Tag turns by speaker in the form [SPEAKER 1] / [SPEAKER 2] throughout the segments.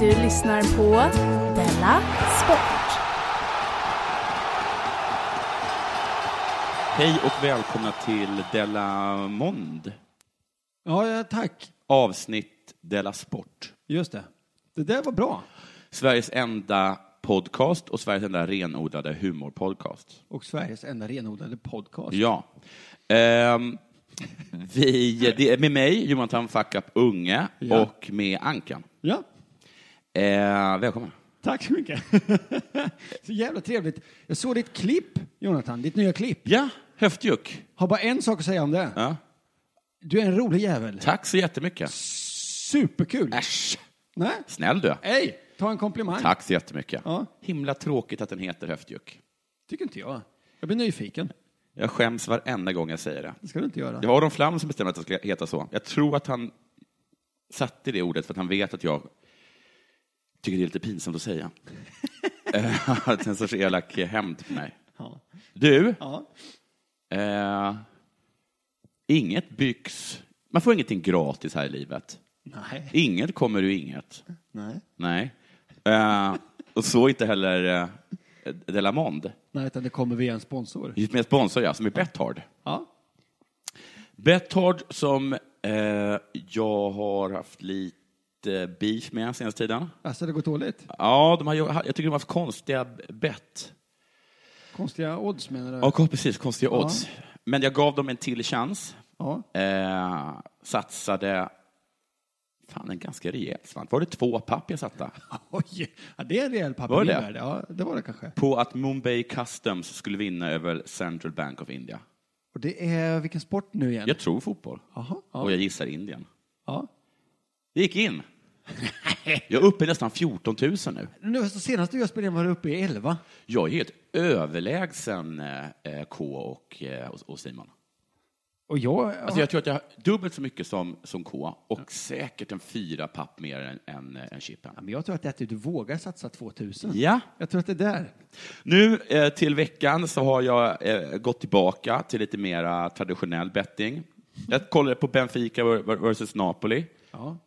[SPEAKER 1] Du lyssnar på Della Sport.
[SPEAKER 2] Hej och välkomna till Della Mond,
[SPEAKER 3] Ja, ja, tack.
[SPEAKER 2] avsnitt Della Sport.
[SPEAKER 3] Just det. Det där var bra.
[SPEAKER 2] Sveriges enda podcast och Sveriges enda renodlade humorpodcast.
[SPEAKER 3] Och Sveriges enda renodlade podcast.
[SPEAKER 2] Ja. Ehm, vi, det är med mig, Jonathan Fuckup Unge,
[SPEAKER 3] Ja.
[SPEAKER 2] och med Ankan.
[SPEAKER 3] Ja,
[SPEAKER 2] Eh, välkommen.
[SPEAKER 3] tack så mycket. så jävla trevligt. Jag såg ditt klipp, Jonathan. Ditt nya klipp.
[SPEAKER 2] Ja, höftjuck.
[SPEAKER 3] Har bara en sak att säga om det.
[SPEAKER 2] Ja.
[SPEAKER 3] Du är en rolig jävel.
[SPEAKER 2] Tack så jättemycket.
[SPEAKER 3] Superkul.
[SPEAKER 2] Äsch.
[SPEAKER 3] Nej.
[SPEAKER 2] Snäll du.
[SPEAKER 3] Hej, ta en komplimang.
[SPEAKER 2] Tack så jättemycket.
[SPEAKER 3] Ja.
[SPEAKER 2] Himla tråkigt att den heter höftjuck.
[SPEAKER 3] Tycker inte jag. Jag blir nyfiken.
[SPEAKER 2] Jag skäms varenda gång jag säger det.
[SPEAKER 3] Det ska du inte göra.
[SPEAKER 2] Det var Aron Flam som bestämde att det skulle heta så. Jag tror att han satte det ordet för att han vet att jag tycker det är lite pinsamt att säga. Eh, att det är en sorts elak hämnd på mig.
[SPEAKER 3] Ja.
[SPEAKER 2] Du,
[SPEAKER 3] Ja.
[SPEAKER 2] eh, inget byggs... Man får ingenting gratis här i livet.
[SPEAKER 3] Nej.
[SPEAKER 2] Inget kommer ur inget.
[SPEAKER 3] Nej.
[SPEAKER 2] Nej. Eh, och så inte heller eh, Delamond.
[SPEAKER 3] Nej, utan det kommer via en sponsor.
[SPEAKER 2] Med sponsor, ja, som är Betthard.
[SPEAKER 3] Ja.
[SPEAKER 2] Betthard som eh, jag har haft lite beef med senaste tiden.
[SPEAKER 3] Alltså, det går dåligt.
[SPEAKER 2] Ja, de har, ju- jag tycker de har haft konstiga bett.
[SPEAKER 3] Konstiga odds menar du?
[SPEAKER 2] Ja, precis, konstiga odds. Men jag gav dem en till chans.
[SPEAKER 3] Ja.
[SPEAKER 2] Eh, satsade fan en ganska rejäl slant. Var det två papp jag satte?
[SPEAKER 3] Oj, ja, det är en rejäl
[SPEAKER 2] Var det?
[SPEAKER 3] pappervärde. Ja, det var det kanske.
[SPEAKER 2] På att Mumbai Customs skulle vinna över Central Bank of India.
[SPEAKER 3] Och det är vilken sport nu igen?
[SPEAKER 2] Jag tror fotboll.
[SPEAKER 3] Jaha.
[SPEAKER 2] Och jag gissar Indien.
[SPEAKER 3] Ja.
[SPEAKER 2] Det gick in. Jag är uppe i nästan 14 000 nu.
[SPEAKER 3] Nu, senast jag spelade in var det uppe i 11.
[SPEAKER 2] Jag är helt överlägsen eh, eh, K och, eh, och- och Simon.
[SPEAKER 3] Och jag...
[SPEAKER 2] Alltså jag tror att jag har dubbelt så mycket som, som K och säkert en fyra papp mer än, än, eh, än
[SPEAKER 3] ja,
[SPEAKER 2] Chippen.
[SPEAKER 3] men jag tror att det är att du vågar satsa 2000.
[SPEAKER 2] Ja.
[SPEAKER 3] Jag tror att det är där.
[SPEAKER 2] Nu eh, till veckan så har jag eh, gått tillbaka till lite mera traditionell betting. Jag kollade på Benfica ver- ver- versus Napoli
[SPEAKER 3] Ja.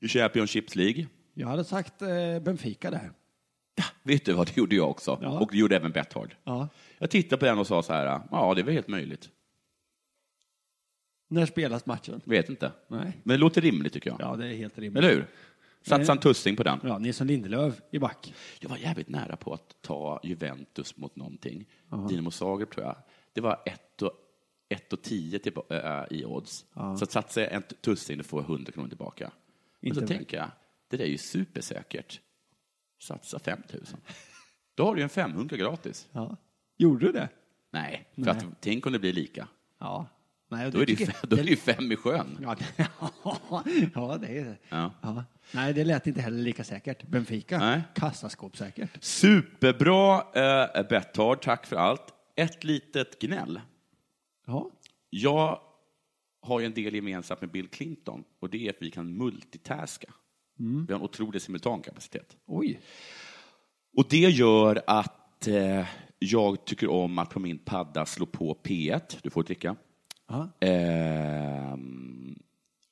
[SPEAKER 2] i Championships League.
[SPEAKER 3] Jag hade sagt eh, Benfica där.
[SPEAKER 2] Vet du vad, det gjorde jag också.
[SPEAKER 3] Ja.
[SPEAKER 2] Och det gjorde även Betthard.
[SPEAKER 3] Ja.
[SPEAKER 2] Jag tittade på den och sa så här, ja det är väl helt möjligt.
[SPEAKER 3] När spelas matchen?
[SPEAKER 2] Vet inte.
[SPEAKER 3] Nej.
[SPEAKER 2] Men det låter rimligt tycker jag.
[SPEAKER 3] Ja, det är helt rimligt.
[SPEAKER 2] Eller hur? Satsa en tussing på den.
[SPEAKER 3] Ja, Nilsson Lindelöf i back.
[SPEAKER 2] Jag var jävligt nära på att ta Juventus mot någonting. Dinamo Zagreb tror jag. Det var 1 och, ett och 10 till, äh, i odds. Så att satsa en t- tussing och få 100 kronor tillbaka. Men
[SPEAKER 3] Inte
[SPEAKER 2] så
[SPEAKER 3] väl.
[SPEAKER 2] tänker jag, det där är ju supersäkert. Satsa 5 000. Då har du ju en 500 gratis.
[SPEAKER 3] Ja. Gjorde du det?
[SPEAKER 2] Nej, för att tänk om det blir lika.
[SPEAKER 3] Ja. Nej, och
[SPEAKER 2] Då är det ju,
[SPEAKER 3] tycker-
[SPEAKER 2] fe- då är det ju fem i sjön.
[SPEAKER 3] Ja, ja, det är det.
[SPEAKER 2] Ja.
[SPEAKER 3] Ja. Nej, det lät inte heller lika säkert. Benfica,
[SPEAKER 2] Nej.
[SPEAKER 3] kassaskåpssäkert.
[SPEAKER 2] Superbra äh, Betthard, tack för allt. Ett litet gnäll.
[SPEAKER 3] Ja.
[SPEAKER 2] Jag har ju en del gemensamt med Bill Clinton och det är att vi kan multitaska. Vi har en otrolig simultankapacitet.
[SPEAKER 3] Mm. Oj.
[SPEAKER 2] Och det gör att eh, jag tycker om att på min padda slå på P1, du får dricka.
[SPEAKER 3] Ja.
[SPEAKER 2] Ehm,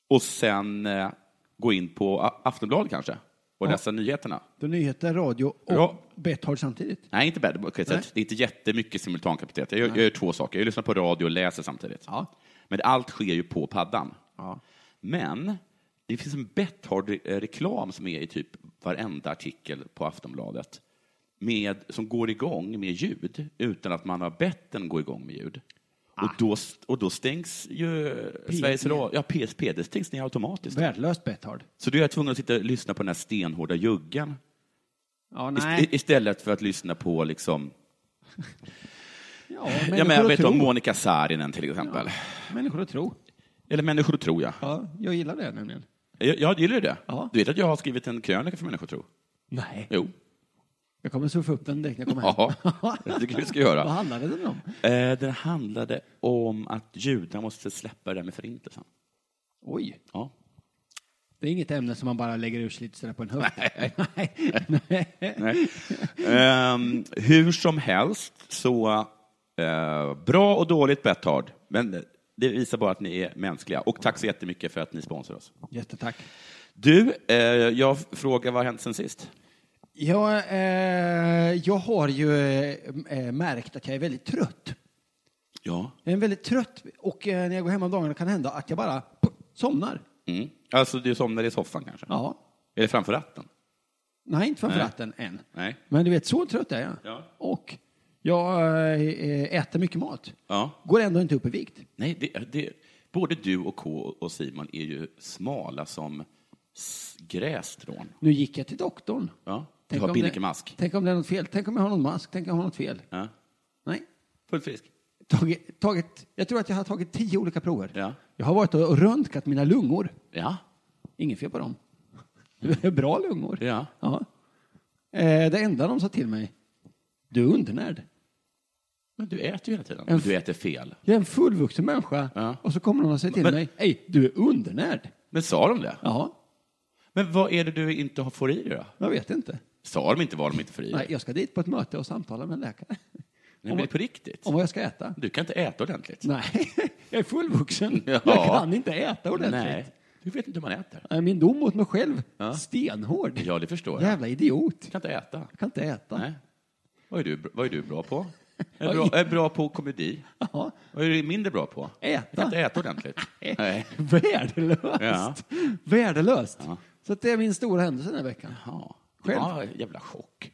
[SPEAKER 2] och sen eh, gå in på A- Aftonbladet kanske och läsa nyheterna.
[SPEAKER 3] Då nyheter, radio och
[SPEAKER 2] Ja.
[SPEAKER 3] Betthard samtidigt.
[SPEAKER 2] Nej, inte bad. Okay, så
[SPEAKER 3] Nej.
[SPEAKER 2] att det är inte jättemycket simultankapacitet. Jag, gör- jag gör två saker. Jag lyssnar på radio och läser samtidigt. Men allt sker ju på paddan. Men det finns en betthard re- eh, reklam som är i typ varenda artikel på Aftonbladet med, som går igång med ljud utan att man har bett den gå igång med ljud. Och,
[SPEAKER 3] Ah.
[SPEAKER 2] då, st- och då stängs ju eh, Sveriges Radio, ja, PSP, det stängs ner automatiskt.
[SPEAKER 3] Värdelöst Betthard.
[SPEAKER 2] Så då är jag tvungen att sitta och lyssna på den här stenhårda juggen
[SPEAKER 3] Ja,
[SPEAKER 2] ist-
[SPEAKER 3] nej.
[SPEAKER 2] i- istället för att lyssna på liksom
[SPEAKER 3] Ja,
[SPEAKER 2] Ja, men jag
[SPEAKER 3] och
[SPEAKER 2] vet
[SPEAKER 3] tro.
[SPEAKER 2] om Monica Saarinen till exempel.
[SPEAKER 3] Människor och tro.
[SPEAKER 2] Eller Människor och tro, ja.
[SPEAKER 3] Ja, jag gillar det nämligen.
[SPEAKER 2] Jag, jag gillar ju det.
[SPEAKER 3] Ja.
[SPEAKER 2] Du vet att jag har skrivit en krönika för Människor och tro?
[SPEAKER 3] Nej.
[SPEAKER 2] Jo.
[SPEAKER 3] Jag kommer surfa upp den direkt när jag kommer hem.
[SPEAKER 2] Ja, det tycker jag vi ska
[SPEAKER 3] Vad
[SPEAKER 2] göra.
[SPEAKER 3] handlade den om?
[SPEAKER 2] Eh, Den handlade om att judarna måste släppa det här med förintelsen.
[SPEAKER 3] Oj.
[SPEAKER 2] Ja.
[SPEAKER 3] Det är inget ämne som man bara lägger ur sig lite sådär på en höft. Nej.
[SPEAKER 2] Nej. Ehm, hur som helst, så eh, bra och dåligt Betthard. Men det visar bara att ni är mänskliga. Och tack så jättemycket för att ni sponsrar oss.
[SPEAKER 3] Jättetack.
[SPEAKER 2] Du, eh, jag frågar vad har hänt sen sist?
[SPEAKER 3] Ja, eh, jag har ju eh, märkt att jag är väldigt trött.
[SPEAKER 2] Ja.
[SPEAKER 3] Jag är väldigt trött och eh, när jag går hem om dagarna kan det hända att jag bara pff, somnar.
[SPEAKER 2] Mm. Alltså, du somnade i soffan kanske?
[SPEAKER 3] Ja.
[SPEAKER 2] Eller framför ratten?
[SPEAKER 3] Nej, inte framför
[SPEAKER 2] Nej.
[SPEAKER 3] ratten än.
[SPEAKER 2] Nej.
[SPEAKER 3] Men du vet, så trött är jag.
[SPEAKER 2] Ja.
[SPEAKER 3] Och jag eh, äter mycket mat.
[SPEAKER 2] Ja.
[SPEAKER 3] Går ändå inte upp i vikt.
[SPEAKER 2] Nej, det, det, både du och K och Simon är ju smala som s- grässtrån.
[SPEAKER 3] Nu gick jag till doktorn.
[SPEAKER 2] Ja. Du
[SPEAKER 3] Tänk
[SPEAKER 2] har
[SPEAKER 3] om det-
[SPEAKER 2] binnikemask.
[SPEAKER 3] Tänk om det är något fel. Tänk om jag har någon mask. Tänk om jag har något fel.
[SPEAKER 2] Ja.
[SPEAKER 3] Nej.
[SPEAKER 2] Fullt frisk.
[SPEAKER 3] Tagit, tagit, jag tror att jag har tagit tio olika prover.
[SPEAKER 2] Ja.
[SPEAKER 3] Jag har varit och röntgat mina lungor.
[SPEAKER 2] Ja.
[SPEAKER 3] Inget fel på dem. Det är Bra lungor.
[SPEAKER 2] Ja.
[SPEAKER 3] Eh, det enda de sa till mig, du är undernärd.
[SPEAKER 2] Men du äter ju hela tiden.
[SPEAKER 3] En
[SPEAKER 2] Men
[SPEAKER 3] f-
[SPEAKER 2] du äter fel.
[SPEAKER 3] Jag är en fullvuxen människa
[SPEAKER 2] Ja.
[SPEAKER 3] och så kommer de och säger till
[SPEAKER 2] Men-
[SPEAKER 3] mig, hej, du är undernärd.
[SPEAKER 2] Men sa de det?
[SPEAKER 3] Ja,
[SPEAKER 2] Men vad är det du inte har- får i dig då?
[SPEAKER 3] jag vet inte.
[SPEAKER 2] Sa de inte vad de inte får i
[SPEAKER 3] Nej,
[SPEAKER 2] dig?
[SPEAKER 3] jag ska dit på ett möte och samtala med en läkare
[SPEAKER 2] Nej, men det är på riktigt.
[SPEAKER 3] om vad jag ska äta.
[SPEAKER 2] Du kan inte äta ordentligt.
[SPEAKER 3] Nej, jag är fullvuxen.
[SPEAKER 2] Ja.
[SPEAKER 3] Jag kan inte äta ordentligt.
[SPEAKER 2] Nej. Du vet inte hur man äter.
[SPEAKER 3] Nej, Min dom mot mig själv,
[SPEAKER 2] Ja.
[SPEAKER 3] stenhård.
[SPEAKER 2] Ja, det förstår jag.
[SPEAKER 3] Jävla idiot.
[SPEAKER 2] Du kan inte äta.
[SPEAKER 3] Jag kan inte äta.
[SPEAKER 2] Nej. Vad är du, vad är du bra på? Jag är
[SPEAKER 3] Oj.
[SPEAKER 2] bra, jag är bra på komedi.
[SPEAKER 3] Ja.
[SPEAKER 2] Vad är du mindre bra på?
[SPEAKER 3] Äta.
[SPEAKER 2] Jag kan inte äta ordentligt. Nej. Ja.
[SPEAKER 3] Värdelöst. Värdelöst.
[SPEAKER 2] Ja.
[SPEAKER 3] Så att det är min stora händelse den här veckan.
[SPEAKER 2] Ja.
[SPEAKER 3] Själv?
[SPEAKER 2] Ja, jävla chock.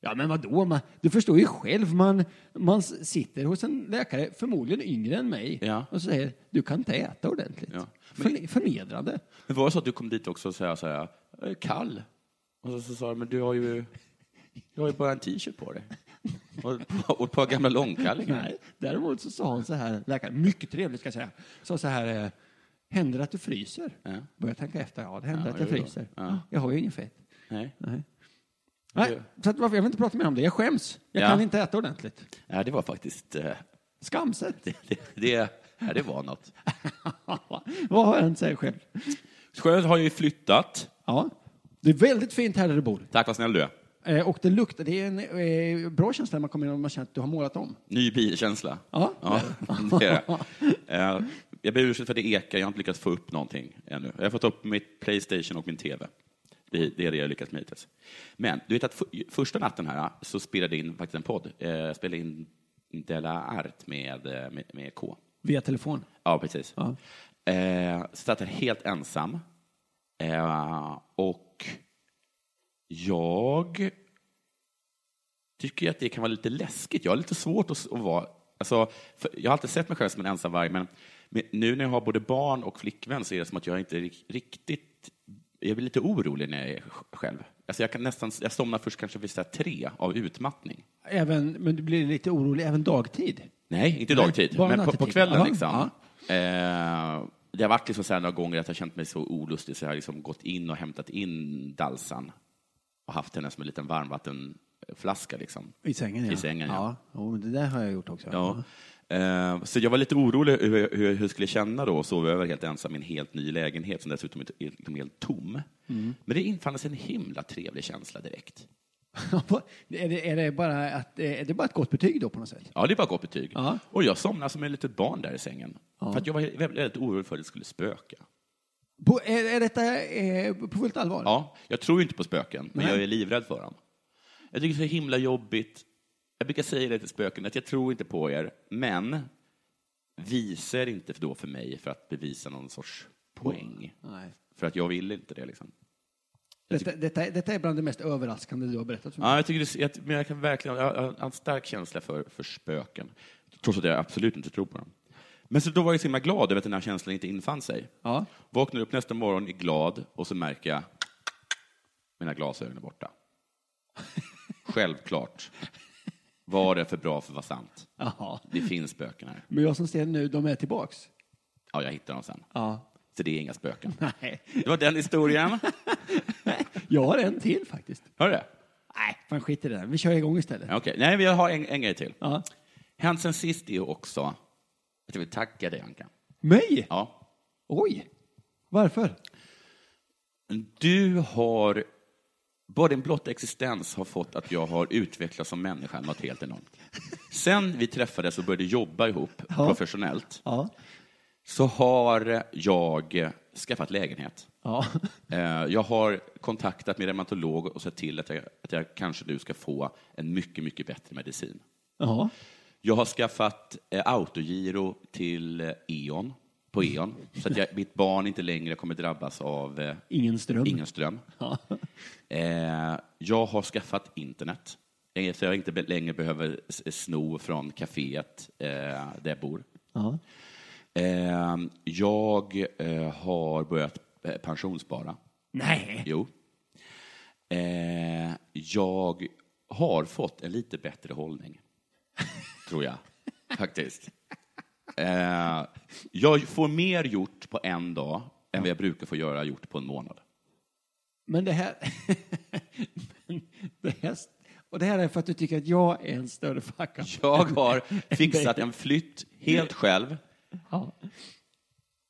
[SPEAKER 3] Ja, men vadå? Man, du förstår ju själv. Man, man s- sitter hos en läkare, förmodligen yngre än mig,
[SPEAKER 2] Ja.
[SPEAKER 3] och säger du kan inte äta ordentligt.
[SPEAKER 2] Ja.
[SPEAKER 3] Förne- förnedrande.
[SPEAKER 2] Men var det så att du kom dit också och sa så här, jag är kall? Och så, så sa de, men du har ju, du har ju bara en t-shirt på dig. Och, och ett par gamla långkallingar.
[SPEAKER 3] Nej. Däremot så sa hon så här, läkaren, mycket trevligt ska jag säga, sa så här, eh, händer det att du fryser?
[SPEAKER 2] Ja.
[SPEAKER 3] Börjar tänka efter, ja det händer
[SPEAKER 2] Ja,
[SPEAKER 3] att jag
[SPEAKER 2] jo då.
[SPEAKER 3] fryser. "Ah,
[SPEAKER 2] Ja.
[SPEAKER 3] Jag har ju ingen fett.
[SPEAKER 2] Nej.
[SPEAKER 3] Nej. Nej, så att, varför- jag vill inte prata mer om det. Jag skäms. Jag
[SPEAKER 2] Ja.
[SPEAKER 3] kan inte äta ordentligt.
[SPEAKER 2] Nej, det var faktiskt, eh,
[SPEAKER 3] Skamset.
[SPEAKER 2] det, det, det, ja, det var något.
[SPEAKER 3] Vad har jag inte säger själv?
[SPEAKER 2] Sjön har ju flyttat.
[SPEAKER 3] Ja. Det är väldigt fint här där du bor.
[SPEAKER 2] Tack vad snäll du är.
[SPEAKER 3] Eh, och det luktar, det är en eh, bra känsla när man kommer in och man känner att du har målat om.
[SPEAKER 2] Ny bilkänsla.
[SPEAKER 3] Ja.
[SPEAKER 2] det är det. Eh, Jag ber om ursäkt för att det ekar, jag har inte lyckats få upp någonting ännu. Jag har fått upp mitt Playstation och min TV. Det är det är det jag har lyckats med hittills. Men du vet att f- första natten här så spelade jag in faktiskt en podd. Eh, Jag spelade in Della Art med, eh, med, med K.
[SPEAKER 3] Via telefon.
[SPEAKER 2] Ja, precis. Eh, satt där helt ensam. Eh, och jag tycker att det kan vara lite läskigt. Jag har lite svårt att, s- att vara... Alltså, för jag har alltid sett mig själv som en ensamvarg, men men nu när jag har både barn och flickvän så är det som att jag inte rik- riktigt... Jag blir lite orolig när jag är sj- själv. Alltså jag, kan nästan, jag somnar först kanske vid så här tre av utmattning.
[SPEAKER 3] Även, men du blir lite orolig även dagtid.
[SPEAKER 2] Nej, inte
[SPEAKER 3] Nej,
[SPEAKER 2] dagtid,
[SPEAKER 3] bara
[SPEAKER 2] men på, på
[SPEAKER 3] nattetid.
[SPEAKER 2] kvällen.
[SPEAKER 3] Ja,
[SPEAKER 2] liksom. Eh, det har varit liksom så här några gånger att jag känt mig så olustig så jag har liksom gått in och hämtat in Dalsan och haft henne som en liten varmvattenflaska. Liksom.
[SPEAKER 3] I sängen, ja.
[SPEAKER 2] I sängen, ja.
[SPEAKER 3] ja. Jo, men det där har jag gjort också.
[SPEAKER 2] Ja. Eh, Så jag var lite orolig hur jag, hur jag hur jag skulle känna då och sova över helt ensam i en helt ny lägenhet som dessutom är är liksom helt tom.
[SPEAKER 3] Mm.
[SPEAKER 2] Men det infann sig en himla trevlig känsla direkt.
[SPEAKER 3] är, det, är, det bara att, är det bara ett gott betyg då på något sätt?
[SPEAKER 2] Ja, det var gott betyg.
[SPEAKER 3] Ja.
[SPEAKER 2] Och jag somnade som ett litet barn där i sängen. För att jag var väldigt, väldigt orolig för att det skulle spöka.
[SPEAKER 3] På, är, är detta eh, på fullt allvar?
[SPEAKER 2] Ja, jag tror ju inte på spöken, men
[SPEAKER 3] Nej.
[SPEAKER 2] jag är livrädd för dem. Jag tycker det är så himla jobbigt. Jag brukar säga det till spöken, att jag tror inte på er, men visar inte då för mig för att bevisa någon sorts poäng.
[SPEAKER 3] Nej.
[SPEAKER 2] För att jag vill inte det. Liksom.
[SPEAKER 3] Detta, detta, detta är bland det mest överraskande du har berättat för mig.
[SPEAKER 2] Ja, jag, tycker det, jag, men jag kan verkligen jag har en stark känsla för, för spöken, trots att jag absolut inte tror på dem. Men så då var jag så himla glad över att den här känslan inte infann sig.
[SPEAKER 3] Ja.
[SPEAKER 2] Vaknar upp nästa morgon är glad och så märker jag mina glasögon är borta. Självklart var det för bra för att vara sant.
[SPEAKER 3] Jaha.
[SPEAKER 2] Det finns spöken här.
[SPEAKER 3] Men jag som ser nu, de är tillbaks.
[SPEAKER 2] Ja, jag hittar dem sen.
[SPEAKER 3] Ja.
[SPEAKER 2] Så det är inga spöken.
[SPEAKER 3] Nej.
[SPEAKER 2] Det var den historien.
[SPEAKER 3] Jag har en till faktiskt.
[SPEAKER 2] Hör du det?
[SPEAKER 3] Nej, fan skit i det där. Vi kör igång istället.
[SPEAKER 2] Ja, Okej, nej, vi har en, en grej till.
[SPEAKER 3] Ja.
[SPEAKER 2] Hänt sen sist är ju också att jag vill tacka dig, Anka.
[SPEAKER 3] Mig?
[SPEAKER 2] Ja.
[SPEAKER 3] Oj! Varför?
[SPEAKER 2] Du har, bara din blotta existens har fått att jag har utvecklats som människa något helt enormt. Sen vi träffades och började jobba ihop professionellt
[SPEAKER 3] Ja.
[SPEAKER 2] så har jag skaffat lägenhet.
[SPEAKER 3] Ja.
[SPEAKER 2] Eh, Jag har kontaktat min reumatolog och sett till att jag, att jag kanske nu ska få en mycket, mycket bättre medicin.
[SPEAKER 3] Ja.
[SPEAKER 2] Jag har skaffat eh, autogiro till eh, E.ON, på E.ON, så att jag, mitt barn inte längre kommer drabbas av eh,
[SPEAKER 3] Ingen ström.
[SPEAKER 2] ingen ström.
[SPEAKER 3] Ja.
[SPEAKER 2] Eh, jag har skaffat internet, eh, så jag inte be- längre behöver s- sno från kaféet eh, där jag bor.
[SPEAKER 3] Ja.
[SPEAKER 2] Eh, jag eh, har börjat eh, pensionsspara.
[SPEAKER 3] Nej.
[SPEAKER 2] Jo. Eh, jag har fått en lite bättre hållning, tror jag, faktiskt. Eh, jag får mer gjort på en dag än vad jag brukar få göra gjort på en månad.
[SPEAKER 3] Men det här... Men det här... Och det här är för att du tycker att jag är en större fuck up.
[SPEAKER 2] Jag har fixat en flytt helt själv
[SPEAKER 3] Ja.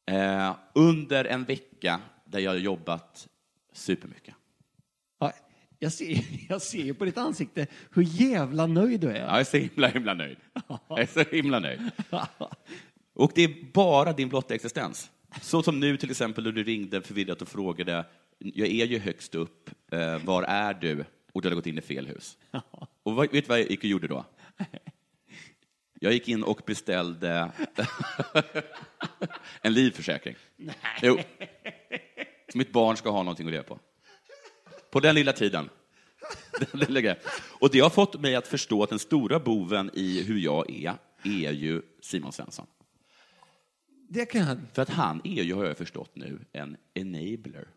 [SPEAKER 2] eh, under en vecka där jag har jobbat supermycket.
[SPEAKER 3] Ja, jag, ser, jag ser ju på ditt ansikte hur jävla nöjd du är.
[SPEAKER 2] Ja, jag är så himla, himla nöjd. Jag är så himla nöjd. Och det är bara din blotta existens. Så som nu till exempel då du ringde förvirrat och frågade, jag är ju högst upp, eh, var är du? Och du hade gått in i fel hus. Och vad, vet du vad jag gick och gjorde då? Jag gick in och beställde en livförsäkring. Jo. Så mitt barn ska ha någonting att leva på. På den lilla tiden. Det lägger jag. Och det har fått mig att förstå att den stora boven i hur jag är, är ju Simon Svensson.
[SPEAKER 3] Det kan jag.
[SPEAKER 2] För att han är ju, har jag förstått nu, en enabler.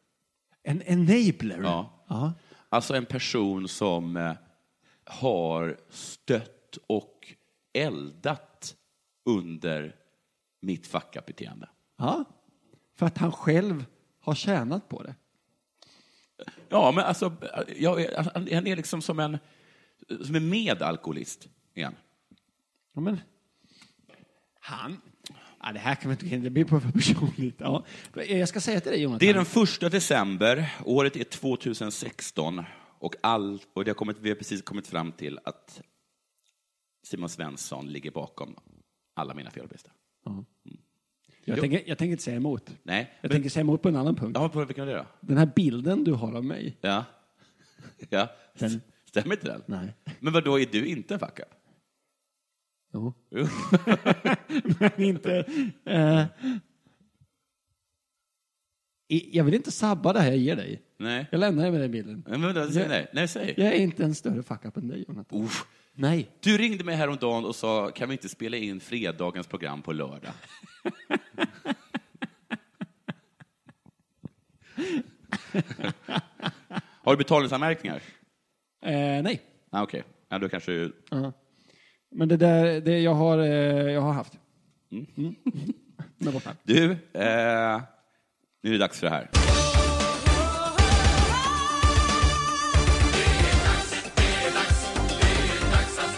[SPEAKER 3] En enabler.
[SPEAKER 2] Ja.
[SPEAKER 3] ja.
[SPEAKER 2] Alltså en person som eh, har stött och eldat under mitt fuck-up-beteende.
[SPEAKER 3] Ja. För att han själv har tjänat på det.
[SPEAKER 2] Ja, men alltså, jag, är- han han är liksom som en, som en medalkoholist. Igen.
[SPEAKER 3] Ja, men... Han... Ja, det här kan vi inte gå in Det blir på för personligt. Ja. Jag ska säga till dig, Jonathan.
[SPEAKER 2] Det är den första december, året är 2016 och, all, och det har kommit, vi har precis kommit fram till att Simon Svensson ligger bakom alla mina fellistor.
[SPEAKER 3] jag, tänker, jag tänker inte säga emot.
[SPEAKER 2] Nej,
[SPEAKER 3] Jag
[SPEAKER 2] men-
[SPEAKER 3] tänker säga emot på en annan punkt.
[SPEAKER 2] Ja, på vilken är det då?
[SPEAKER 3] Den här bilden du har av mig.
[SPEAKER 2] Ja. ja.
[SPEAKER 3] Den-
[SPEAKER 2] Stämmer inte den?
[SPEAKER 3] Nej.
[SPEAKER 2] Men vad då är du inte en fuck-up?
[SPEAKER 3] Jo.
[SPEAKER 2] Jo.
[SPEAKER 3] Men inte... Eh, i- jag vill inte sabba det här jag ger dig.
[SPEAKER 2] Nej.
[SPEAKER 3] Jag lämnar dig med den bilden.
[SPEAKER 2] Men vadå, säg nej. Nej, säg.
[SPEAKER 3] Jag är inte en större fuck-up än dig, Jonathan.
[SPEAKER 2] Uff.
[SPEAKER 3] Nej.
[SPEAKER 2] Du ringde mig häromdagen och sa, kan vi inte spela in fredagens program på lördag? Har du betalningsanmärkningar?
[SPEAKER 3] Eh, nej.
[SPEAKER 2] Ah, Okej, ja, då kanske...
[SPEAKER 3] Ja. Men det där, det jag har, eh, jag har haft. Mm. Men borta.
[SPEAKER 2] Du, eh, nu är det dags för det här.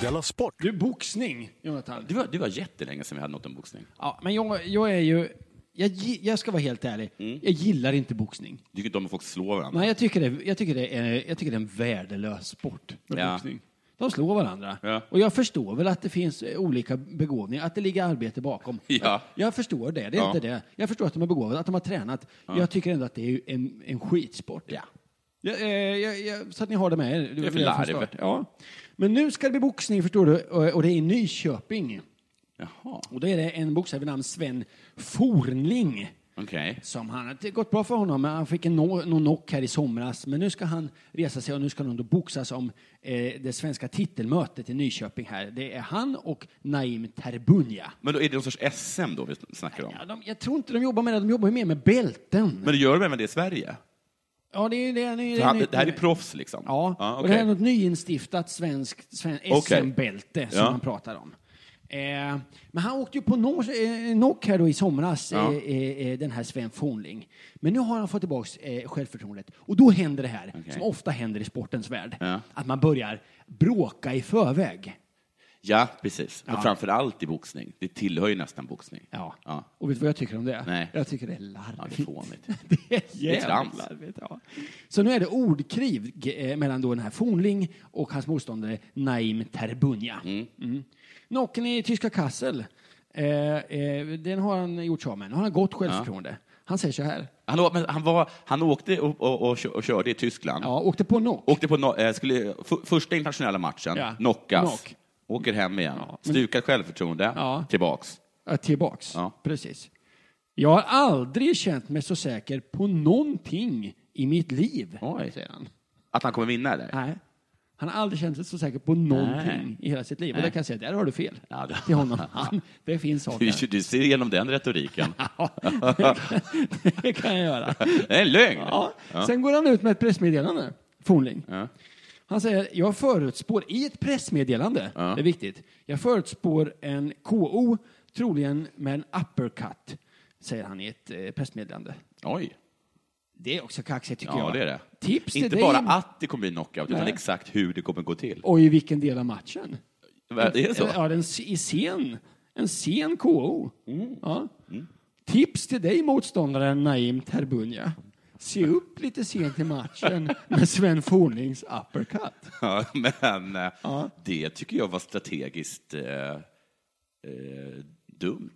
[SPEAKER 4] Della Sport!
[SPEAKER 3] Du, boxning, Jonathan.
[SPEAKER 2] Det var, det var jättelänge sedan vi hade något om boxning.
[SPEAKER 3] Ja, men jag, jag är ju, jag, gi- jag ska vara helt ärlig, jag gillar inte boxning.
[SPEAKER 2] Du tycker inte om att folk slår varandra?
[SPEAKER 3] Nej, jag tycker det, jag tycker det, är, jag tycker det är en värdelös sport. med
[SPEAKER 2] Ja.
[SPEAKER 3] Boxning. De slår varandra.
[SPEAKER 2] Ja.
[SPEAKER 3] Och jag förstår väl att det finns eh, olika begåvningar, att det ligger arbete bakom.
[SPEAKER 2] Ja.
[SPEAKER 3] Jag förstår det, det är
[SPEAKER 2] Ja.
[SPEAKER 3] inte det. Jag förstår att de är begåvade, att de har tränat. Jag tycker ändå att det är ju en, en skitsport.
[SPEAKER 2] Ja.
[SPEAKER 3] Jag, eh, jag, jag, så att ni har det med er.
[SPEAKER 2] är för
[SPEAKER 3] redan från
[SPEAKER 2] larv.
[SPEAKER 3] start. Ja. Men nu ska det bli boxning, förstår du, Eh, och, och det är i Nyköping.
[SPEAKER 2] Jaha,
[SPEAKER 3] Och då är det en boxare vid namn Sven Fornling.
[SPEAKER 2] okej.
[SPEAKER 3] Som han, det har gått bra för honom, men han fick en no, någon knock här i somras. Men nu ska han resa sig och nu ska han då boxas om eh, det svenska titelmötet i Nyköping här. Det är han och Naim Terbunja.
[SPEAKER 2] Men då är det någon sorts SM då vi snackar om?
[SPEAKER 3] Ja, de, jag tror inte de jobbar med det, de jobbar ju mer med bälten.
[SPEAKER 2] Men det gör de även det i Sverige?
[SPEAKER 3] ja, det, är, det, är, det, är,
[SPEAKER 2] Det här,
[SPEAKER 3] nytt
[SPEAKER 2] det här
[SPEAKER 3] nu.
[SPEAKER 2] är proffs liksom?
[SPEAKER 3] Ja, och
[SPEAKER 2] okej.
[SPEAKER 3] det här är något nyinstiftat svenskt sven,
[SPEAKER 2] Okej.
[SPEAKER 3] SM-bälte som
[SPEAKER 2] Ja.
[SPEAKER 3] han pratar om. Eh, men han åkte ju på no- eh, knock här då i somras,
[SPEAKER 2] Ja.
[SPEAKER 3] eh, eh, eh, den här Sven Fornling. Men nu har han fått tillbaka eh, självförtroendet. Och då händer det här, som ofta händer i sportens värld,
[SPEAKER 2] Ja.
[SPEAKER 3] att man börjar bråka i förväg.
[SPEAKER 2] Ja, precis. Men framför allt i boxning. Det tillhör ju nästan boxning.
[SPEAKER 3] Ja.
[SPEAKER 2] ja.
[SPEAKER 3] Och vet du vad jag tycker om det?
[SPEAKER 2] Nej.
[SPEAKER 3] Jag tycker det är
[SPEAKER 2] Ja, det
[SPEAKER 3] larvigt.
[SPEAKER 2] är fånigt.
[SPEAKER 3] Det är
[SPEAKER 2] är trams.
[SPEAKER 3] jävligt larvigt, ja. Så nu är det ordkrig eh, mellan då den här Fornling och hans motståndare Naim Terbunja. Mm. Knocken i tyska Kassel, eh, eh, den har han gjort sig av med. Nu har han gott självförtroende. Han säger så här.
[SPEAKER 2] Han, å- men han, var, han åkte och, och, och, kö- och körde i Tyskland.
[SPEAKER 3] Ja, åkte på knock.
[SPEAKER 2] Åkte på no, eh, skulle, f- första internationella matchen,
[SPEAKER 3] Ja.
[SPEAKER 2] knockas,
[SPEAKER 3] Knock.
[SPEAKER 2] åker hem igen,
[SPEAKER 3] men-
[SPEAKER 2] stukat självförtroende,
[SPEAKER 3] Ja.
[SPEAKER 2] tillbaks.
[SPEAKER 3] Ja, eh, tillbaks.
[SPEAKER 2] Ja.
[SPEAKER 3] Precis. Jag har aldrig känt mig så säker på någonting i mitt liv,
[SPEAKER 2] Oj.
[SPEAKER 3] säger han.
[SPEAKER 2] Att han kommer vinna, eller?
[SPEAKER 3] Nej. Han har aldrig känt sig så säker på någonting i hela sitt liv. Och där kan jag säga, där har du fel.
[SPEAKER 2] Ja, det-
[SPEAKER 3] Till honom. Han, det finns saker.
[SPEAKER 2] Du, du ser igenom den retoriken.
[SPEAKER 3] Ja, det kan jag göra.
[SPEAKER 2] Det är en lögn!
[SPEAKER 3] Ja. Sen går han ut med ett pressmeddelande, Fornling. Han säger, jag förutspår i ett pressmeddelande, det är viktigt, jag förutspår en KO, troligen med en uppercut, säger han i ett eh, pressmeddelande.
[SPEAKER 2] Oj.
[SPEAKER 3] Det är också kaxigt tycker
[SPEAKER 2] Ja,
[SPEAKER 3] jag.
[SPEAKER 2] det är det.
[SPEAKER 3] Tips till
[SPEAKER 2] Inte
[SPEAKER 3] dig.
[SPEAKER 2] bara att det kommer bli knockout, utan
[SPEAKER 3] Nej.
[SPEAKER 2] exakt hur det kommer gå till.
[SPEAKER 3] Och i vilken del av matchen?
[SPEAKER 2] Är det så?
[SPEAKER 3] Ja, den, i sen, en sen KO.
[SPEAKER 2] Mm.
[SPEAKER 3] Ja. Tips till dig motståndaren Naim Terbunja. Se upp lite sent i matchen med Sven Fornings uppercut.
[SPEAKER 2] Ja, men eh, det tycker jag var strategiskt eh, eh, dumt.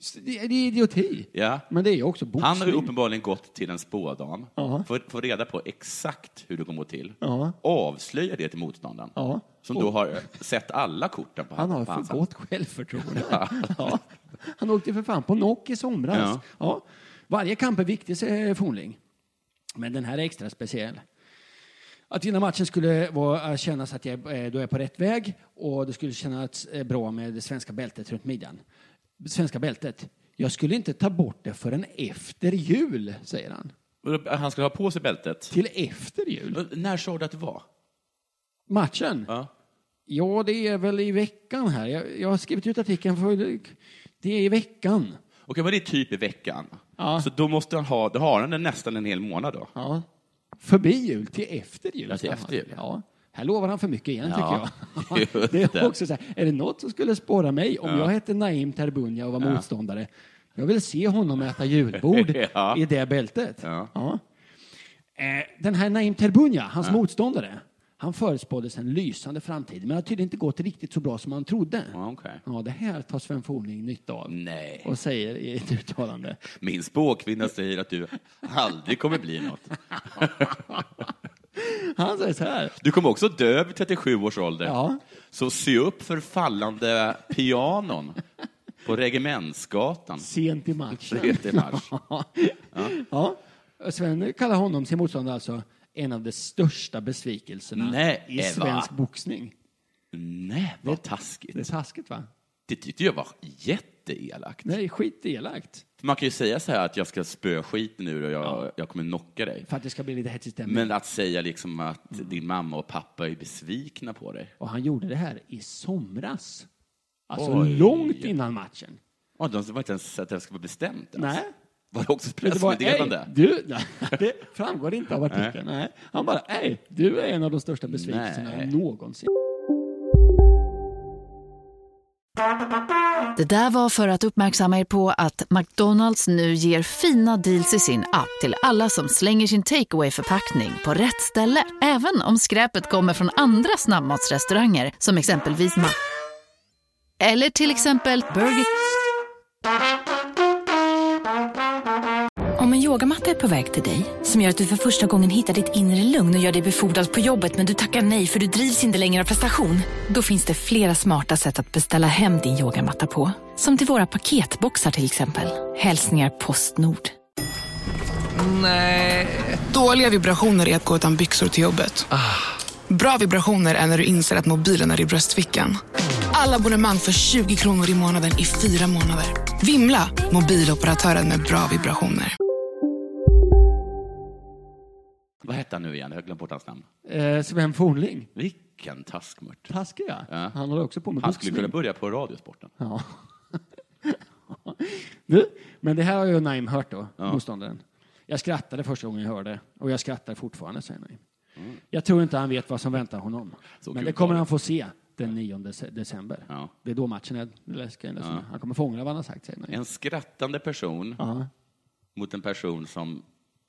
[SPEAKER 3] Så Det det är idioti.
[SPEAKER 2] Ja.
[SPEAKER 3] Men det är ju också boxning.
[SPEAKER 2] Han har ju uppenbarligen gått till en spådam för att få reda på exakt hur det kommer till. Avslöja det till motståndaren,
[SPEAKER 3] Ja.
[SPEAKER 2] som då har sett alla korten på
[SPEAKER 3] Han har
[SPEAKER 2] på hans
[SPEAKER 3] för
[SPEAKER 2] hand.
[SPEAKER 3] gott självförtroende. Ja. Han åkte för fan på knock i somras. Ja.
[SPEAKER 2] Ja.
[SPEAKER 3] Varje kamp är viktig, säger Fornling. Men den här är extra speciell. Att innan matchen skulle vara, kännas att jag eh, då är på rätt väg och det skulle kännas eh, bra med det svenska bältet runt midjan. Svenska bältet. Jag skulle inte ta bort det förrän efter jul, säger han.
[SPEAKER 2] Och Han skulle ha på sig bältet.
[SPEAKER 3] Till efter jul?
[SPEAKER 2] Men När sa du att det var?
[SPEAKER 3] Matchen?
[SPEAKER 2] Ja.
[SPEAKER 3] Ja, det är väl i veckan här. Jag, jag har skrivit ut artikeln för... Det är i veckan.
[SPEAKER 2] Okej, men det är typ i veckan. Så då måste han ha, då har han den nästan en hel månad då.
[SPEAKER 3] Ja. Förbi jul till efter jul.
[SPEAKER 2] Ja, till
[SPEAKER 3] ska han
[SPEAKER 2] efter
[SPEAKER 3] ha.
[SPEAKER 2] jul, ja.
[SPEAKER 3] Ja. Här lovar han för mycket igen,
[SPEAKER 2] Ja,
[SPEAKER 3] tycker jag.
[SPEAKER 2] just
[SPEAKER 3] det är
[SPEAKER 2] det.
[SPEAKER 3] också så här, är det något som skulle spåra mig om jag hette Naim Terbunja och var motståndare? Jag vill se honom äta julbord
[SPEAKER 2] Ja.
[SPEAKER 3] i det bältet.
[SPEAKER 2] Ja.
[SPEAKER 3] Eh, Den här Naim Terbunja, hans motståndare, han förutspåddes en lysande framtid, men har tydligen inte gått riktigt så bra som han trodde.
[SPEAKER 2] Ja, okej.
[SPEAKER 3] Ja, det här tar Sven Fornling nytta av
[SPEAKER 2] Nej.
[SPEAKER 3] och säger i ett uttalande.
[SPEAKER 2] Min spåkvinna säger att du aldrig kommer bli något.
[SPEAKER 3] Han säger så här.
[SPEAKER 2] Du kommer också dö vid 37 års ålder.
[SPEAKER 3] Ja.
[SPEAKER 2] Så se upp för fallande pianon på Regementsgatan.
[SPEAKER 3] Sent i matchen.
[SPEAKER 2] Sent i match.
[SPEAKER 3] ja. Sven kallar honom, sin motståndare alltså, en av de största besvikelserna
[SPEAKER 2] Nej,
[SPEAKER 3] i
[SPEAKER 2] Eva.
[SPEAKER 3] svensk boxning.
[SPEAKER 2] Nej, vad taskigt.
[SPEAKER 3] Det är taskigt va?
[SPEAKER 2] Det tyckte jag var jätteelakt.
[SPEAKER 3] Nej, skitelakt.
[SPEAKER 2] Man kan ju säga så här att jag ska spöa skiten nu och jag, jag kommer knocka dig.
[SPEAKER 3] För att det ska bli lite hetsig stämning.
[SPEAKER 2] Men att säga liksom att
[SPEAKER 3] Mm.
[SPEAKER 2] din mamma och pappa är besvikna på dig.
[SPEAKER 3] Och han gjorde det här i somras. Alltså
[SPEAKER 2] Oj.
[SPEAKER 3] långt innan matchen.
[SPEAKER 2] Ja, de var inte ens att det skulle vara bestämt. ens.
[SPEAKER 3] Nej.
[SPEAKER 2] Var Alltså, det också ett
[SPEAKER 3] Det var, ej,
[SPEAKER 2] pressmeddelande?
[SPEAKER 3] du, nej, det framgår inte av artikeln. Nej. Han bara, ej, du är en av de största besvikelserna
[SPEAKER 2] Nej.
[SPEAKER 3] någonsin.
[SPEAKER 5] Det där var för att uppmärksamma er på att McDonalds nu ger fina deals i sin app till alla som slänger sin takeaway förpackning på rätt ställe. Även om skräpet kommer från andra snabbmatsrestauranger som exempelvis Ma... Eller till exempel Burger...
[SPEAKER 6] Om en yogamatta är på väg till dig, som gör att du för första gången hittar ditt inre lugn och gör dig befordrad på jobbet men du tackar nej för du drivs inte längre av prestation. Då finns det flera smarta sätt att beställa hem din yogamatta på. Som till våra paketboxar till exempel. Hälsningar Postnord.
[SPEAKER 7] Nej. Dåliga vibrationer är att gå utan byxor till jobbet. Bra vibrationer är när du inser att mobilen är i bröstfickan. Alla abonnemang för 20 kronor i månaden i fyra månader. Vimla! Mobiloperatören med bra vibrationer.
[SPEAKER 2] Vad hette han nu igen? Jag har glömt bort hans namn.
[SPEAKER 3] Eh, Sven Fornling.
[SPEAKER 2] Vilken taskmört.
[SPEAKER 3] Taskig ja.
[SPEAKER 2] Ja.
[SPEAKER 3] Han håller också på med
[SPEAKER 2] Han skulle kunna
[SPEAKER 3] boxning.
[SPEAKER 2] börja på Radiosporten.
[SPEAKER 3] Ja. du, men det här har ju Naim hört då,
[SPEAKER 2] Ja.
[SPEAKER 3] motståndaren. Jag skrattade första gången jag hörde och jag skrattar fortfarande, säger Naim. Jag tror inte han vet vad som väntar honom.
[SPEAKER 2] Så
[SPEAKER 3] men
[SPEAKER 2] kul
[SPEAKER 3] det kommer
[SPEAKER 2] var det.
[SPEAKER 3] han få se den 9 dec- december.
[SPEAKER 2] Ja.
[SPEAKER 3] Det är då matchen är läskig. läskig. Han kommer fånga vad han har sagt, säger Naim.
[SPEAKER 2] En skrattande person
[SPEAKER 3] Ja.
[SPEAKER 2] mot en person som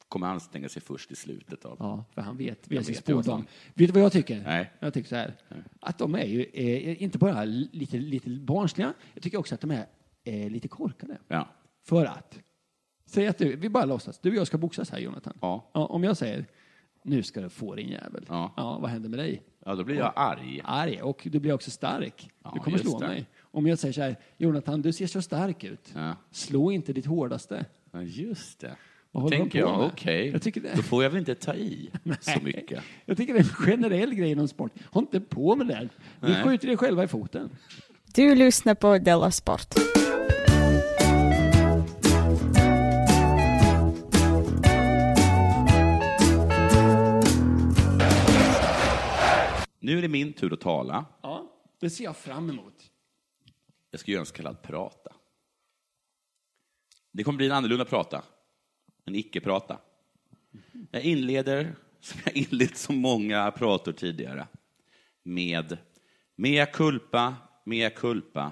[SPEAKER 2] kommer anstränga sig först i slutet av...
[SPEAKER 3] Ja, för han vet.
[SPEAKER 2] Jag
[SPEAKER 3] Vet, sin
[SPEAKER 2] vet ju vad
[SPEAKER 3] spådom.
[SPEAKER 2] som-
[SPEAKER 3] vet du vad jag tycker?
[SPEAKER 2] Nej.
[SPEAKER 3] Jag tycker så här. Att de är ju eh, inte bara lite, lite barnsliga. Jag tycker också att de är eh, lite korkade.
[SPEAKER 2] Ja.
[SPEAKER 3] För att. Säg att du, vi bara låtsas. Du och jag ska boxas här, Jonathan.
[SPEAKER 2] Ja.
[SPEAKER 3] om jag säger, nu ska du få din jävel.
[SPEAKER 2] Ja.
[SPEAKER 3] vad händer med dig?
[SPEAKER 2] ja, då blir jag arg.
[SPEAKER 3] Arg. Och du blir också stark. du kommer
[SPEAKER 2] just
[SPEAKER 3] slå
[SPEAKER 2] det.
[SPEAKER 3] mig. Om jag säger så här, Jonathan, du ser så stark ut.
[SPEAKER 2] Ja.
[SPEAKER 3] Slå inte ditt hårdaste.
[SPEAKER 2] Ja, just det.
[SPEAKER 3] Vad
[SPEAKER 2] Då
[SPEAKER 3] håller de
[SPEAKER 2] tänker
[SPEAKER 3] på
[SPEAKER 2] jag,
[SPEAKER 3] med?
[SPEAKER 2] okej,
[SPEAKER 3] Jag tycker det-
[SPEAKER 2] då får jag väl inte ta i så
[SPEAKER 3] Nej.
[SPEAKER 2] mycket.
[SPEAKER 3] Jag tycker det är en generell grej inom sport. Håll inte på med det. här. Ni
[SPEAKER 2] Nej.
[SPEAKER 3] skjuter er själva i foten.
[SPEAKER 8] Du lyssnar på Della Sport.
[SPEAKER 2] Nu är det min tur att tala.
[SPEAKER 3] Ja, det ser jag fram emot.
[SPEAKER 2] Jag ska göra en så kallad prata. Det kommer bli en annorlunda prata. En icke-prata. Jag inleder, som jag inlett så många prator tidigare, med mea culpa, mea culpa,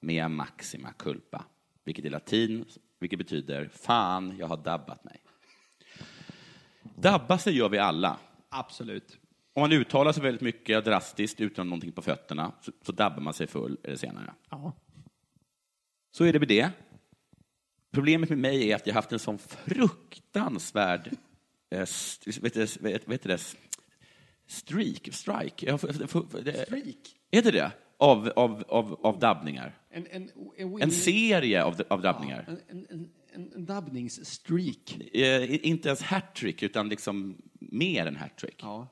[SPEAKER 2] mea maxima culpa. Vilket är latin, vilket betyder fan, jag har dabbat mig. Dabba sig gör vi alla.
[SPEAKER 3] Absolut.
[SPEAKER 2] Om man uttalar sig väldigt mycket drastiskt utan någonting på fötterna så, så dabbar man sig full eller senare.
[SPEAKER 3] Ja.
[SPEAKER 2] Så är det med det. Problemet med mig är att jag haft en sån fruktansvärd eh, s- vet du, vet, vet du det, s- streak, strike, jag får- jag får- det- heter det? Av, av, av, av dabbningar.
[SPEAKER 3] En, en, en,
[SPEAKER 2] En serie av, av dabbningar.
[SPEAKER 3] En, en, en, en dabbningsstreak.
[SPEAKER 2] Eh, inte ens hattrick, utan liksom mer än hattrick.
[SPEAKER 3] Jag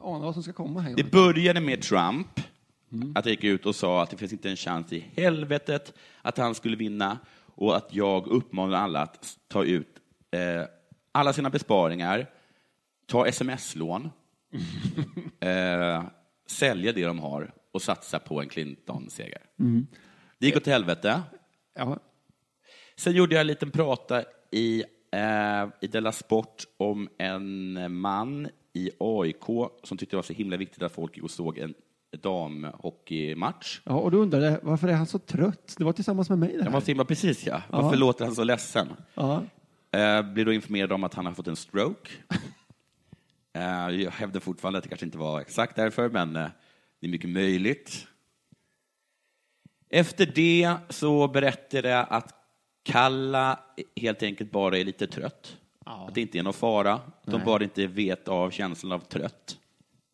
[SPEAKER 3] anar vad som ska komma här.
[SPEAKER 2] Det började med Trump, att jag gick ut och sa att det finns inte en chans i helvetet att han skulle vinna och att jag uppmanar alla att s- ta ut eh, alla sina besparingar, ta sms-lån, eh, sälja det de har och satsa på en Clinton-seger. Det gick åt helvete.
[SPEAKER 3] Ja.
[SPEAKER 2] Sen gjorde jag en liten prata i, eh, i Della Sport om en man i AIK som tyckte det var så himla viktigt att folk gick och såg en damhockeymatch.
[SPEAKER 3] ja, och du undrade varför är han så trött? Det var tillsammans med mig det
[SPEAKER 2] Jag
[SPEAKER 3] här.
[SPEAKER 2] var så himla precis ja. Varför
[SPEAKER 3] Ja.
[SPEAKER 2] låter han så ledsen?
[SPEAKER 3] Ja.
[SPEAKER 2] Eh, blir då informerad om att han har fått en stroke. eh, jag hävdar fortfarande att det kanske inte var exakt därför, men eh, det är mycket möjligt. Efter det så berättade jag att Kalla helt enkelt bara är lite trött. Att det inte är någon fara. De
[SPEAKER 3] Nej.
[SPEAKER 2] bara inte vet av känslan av trött.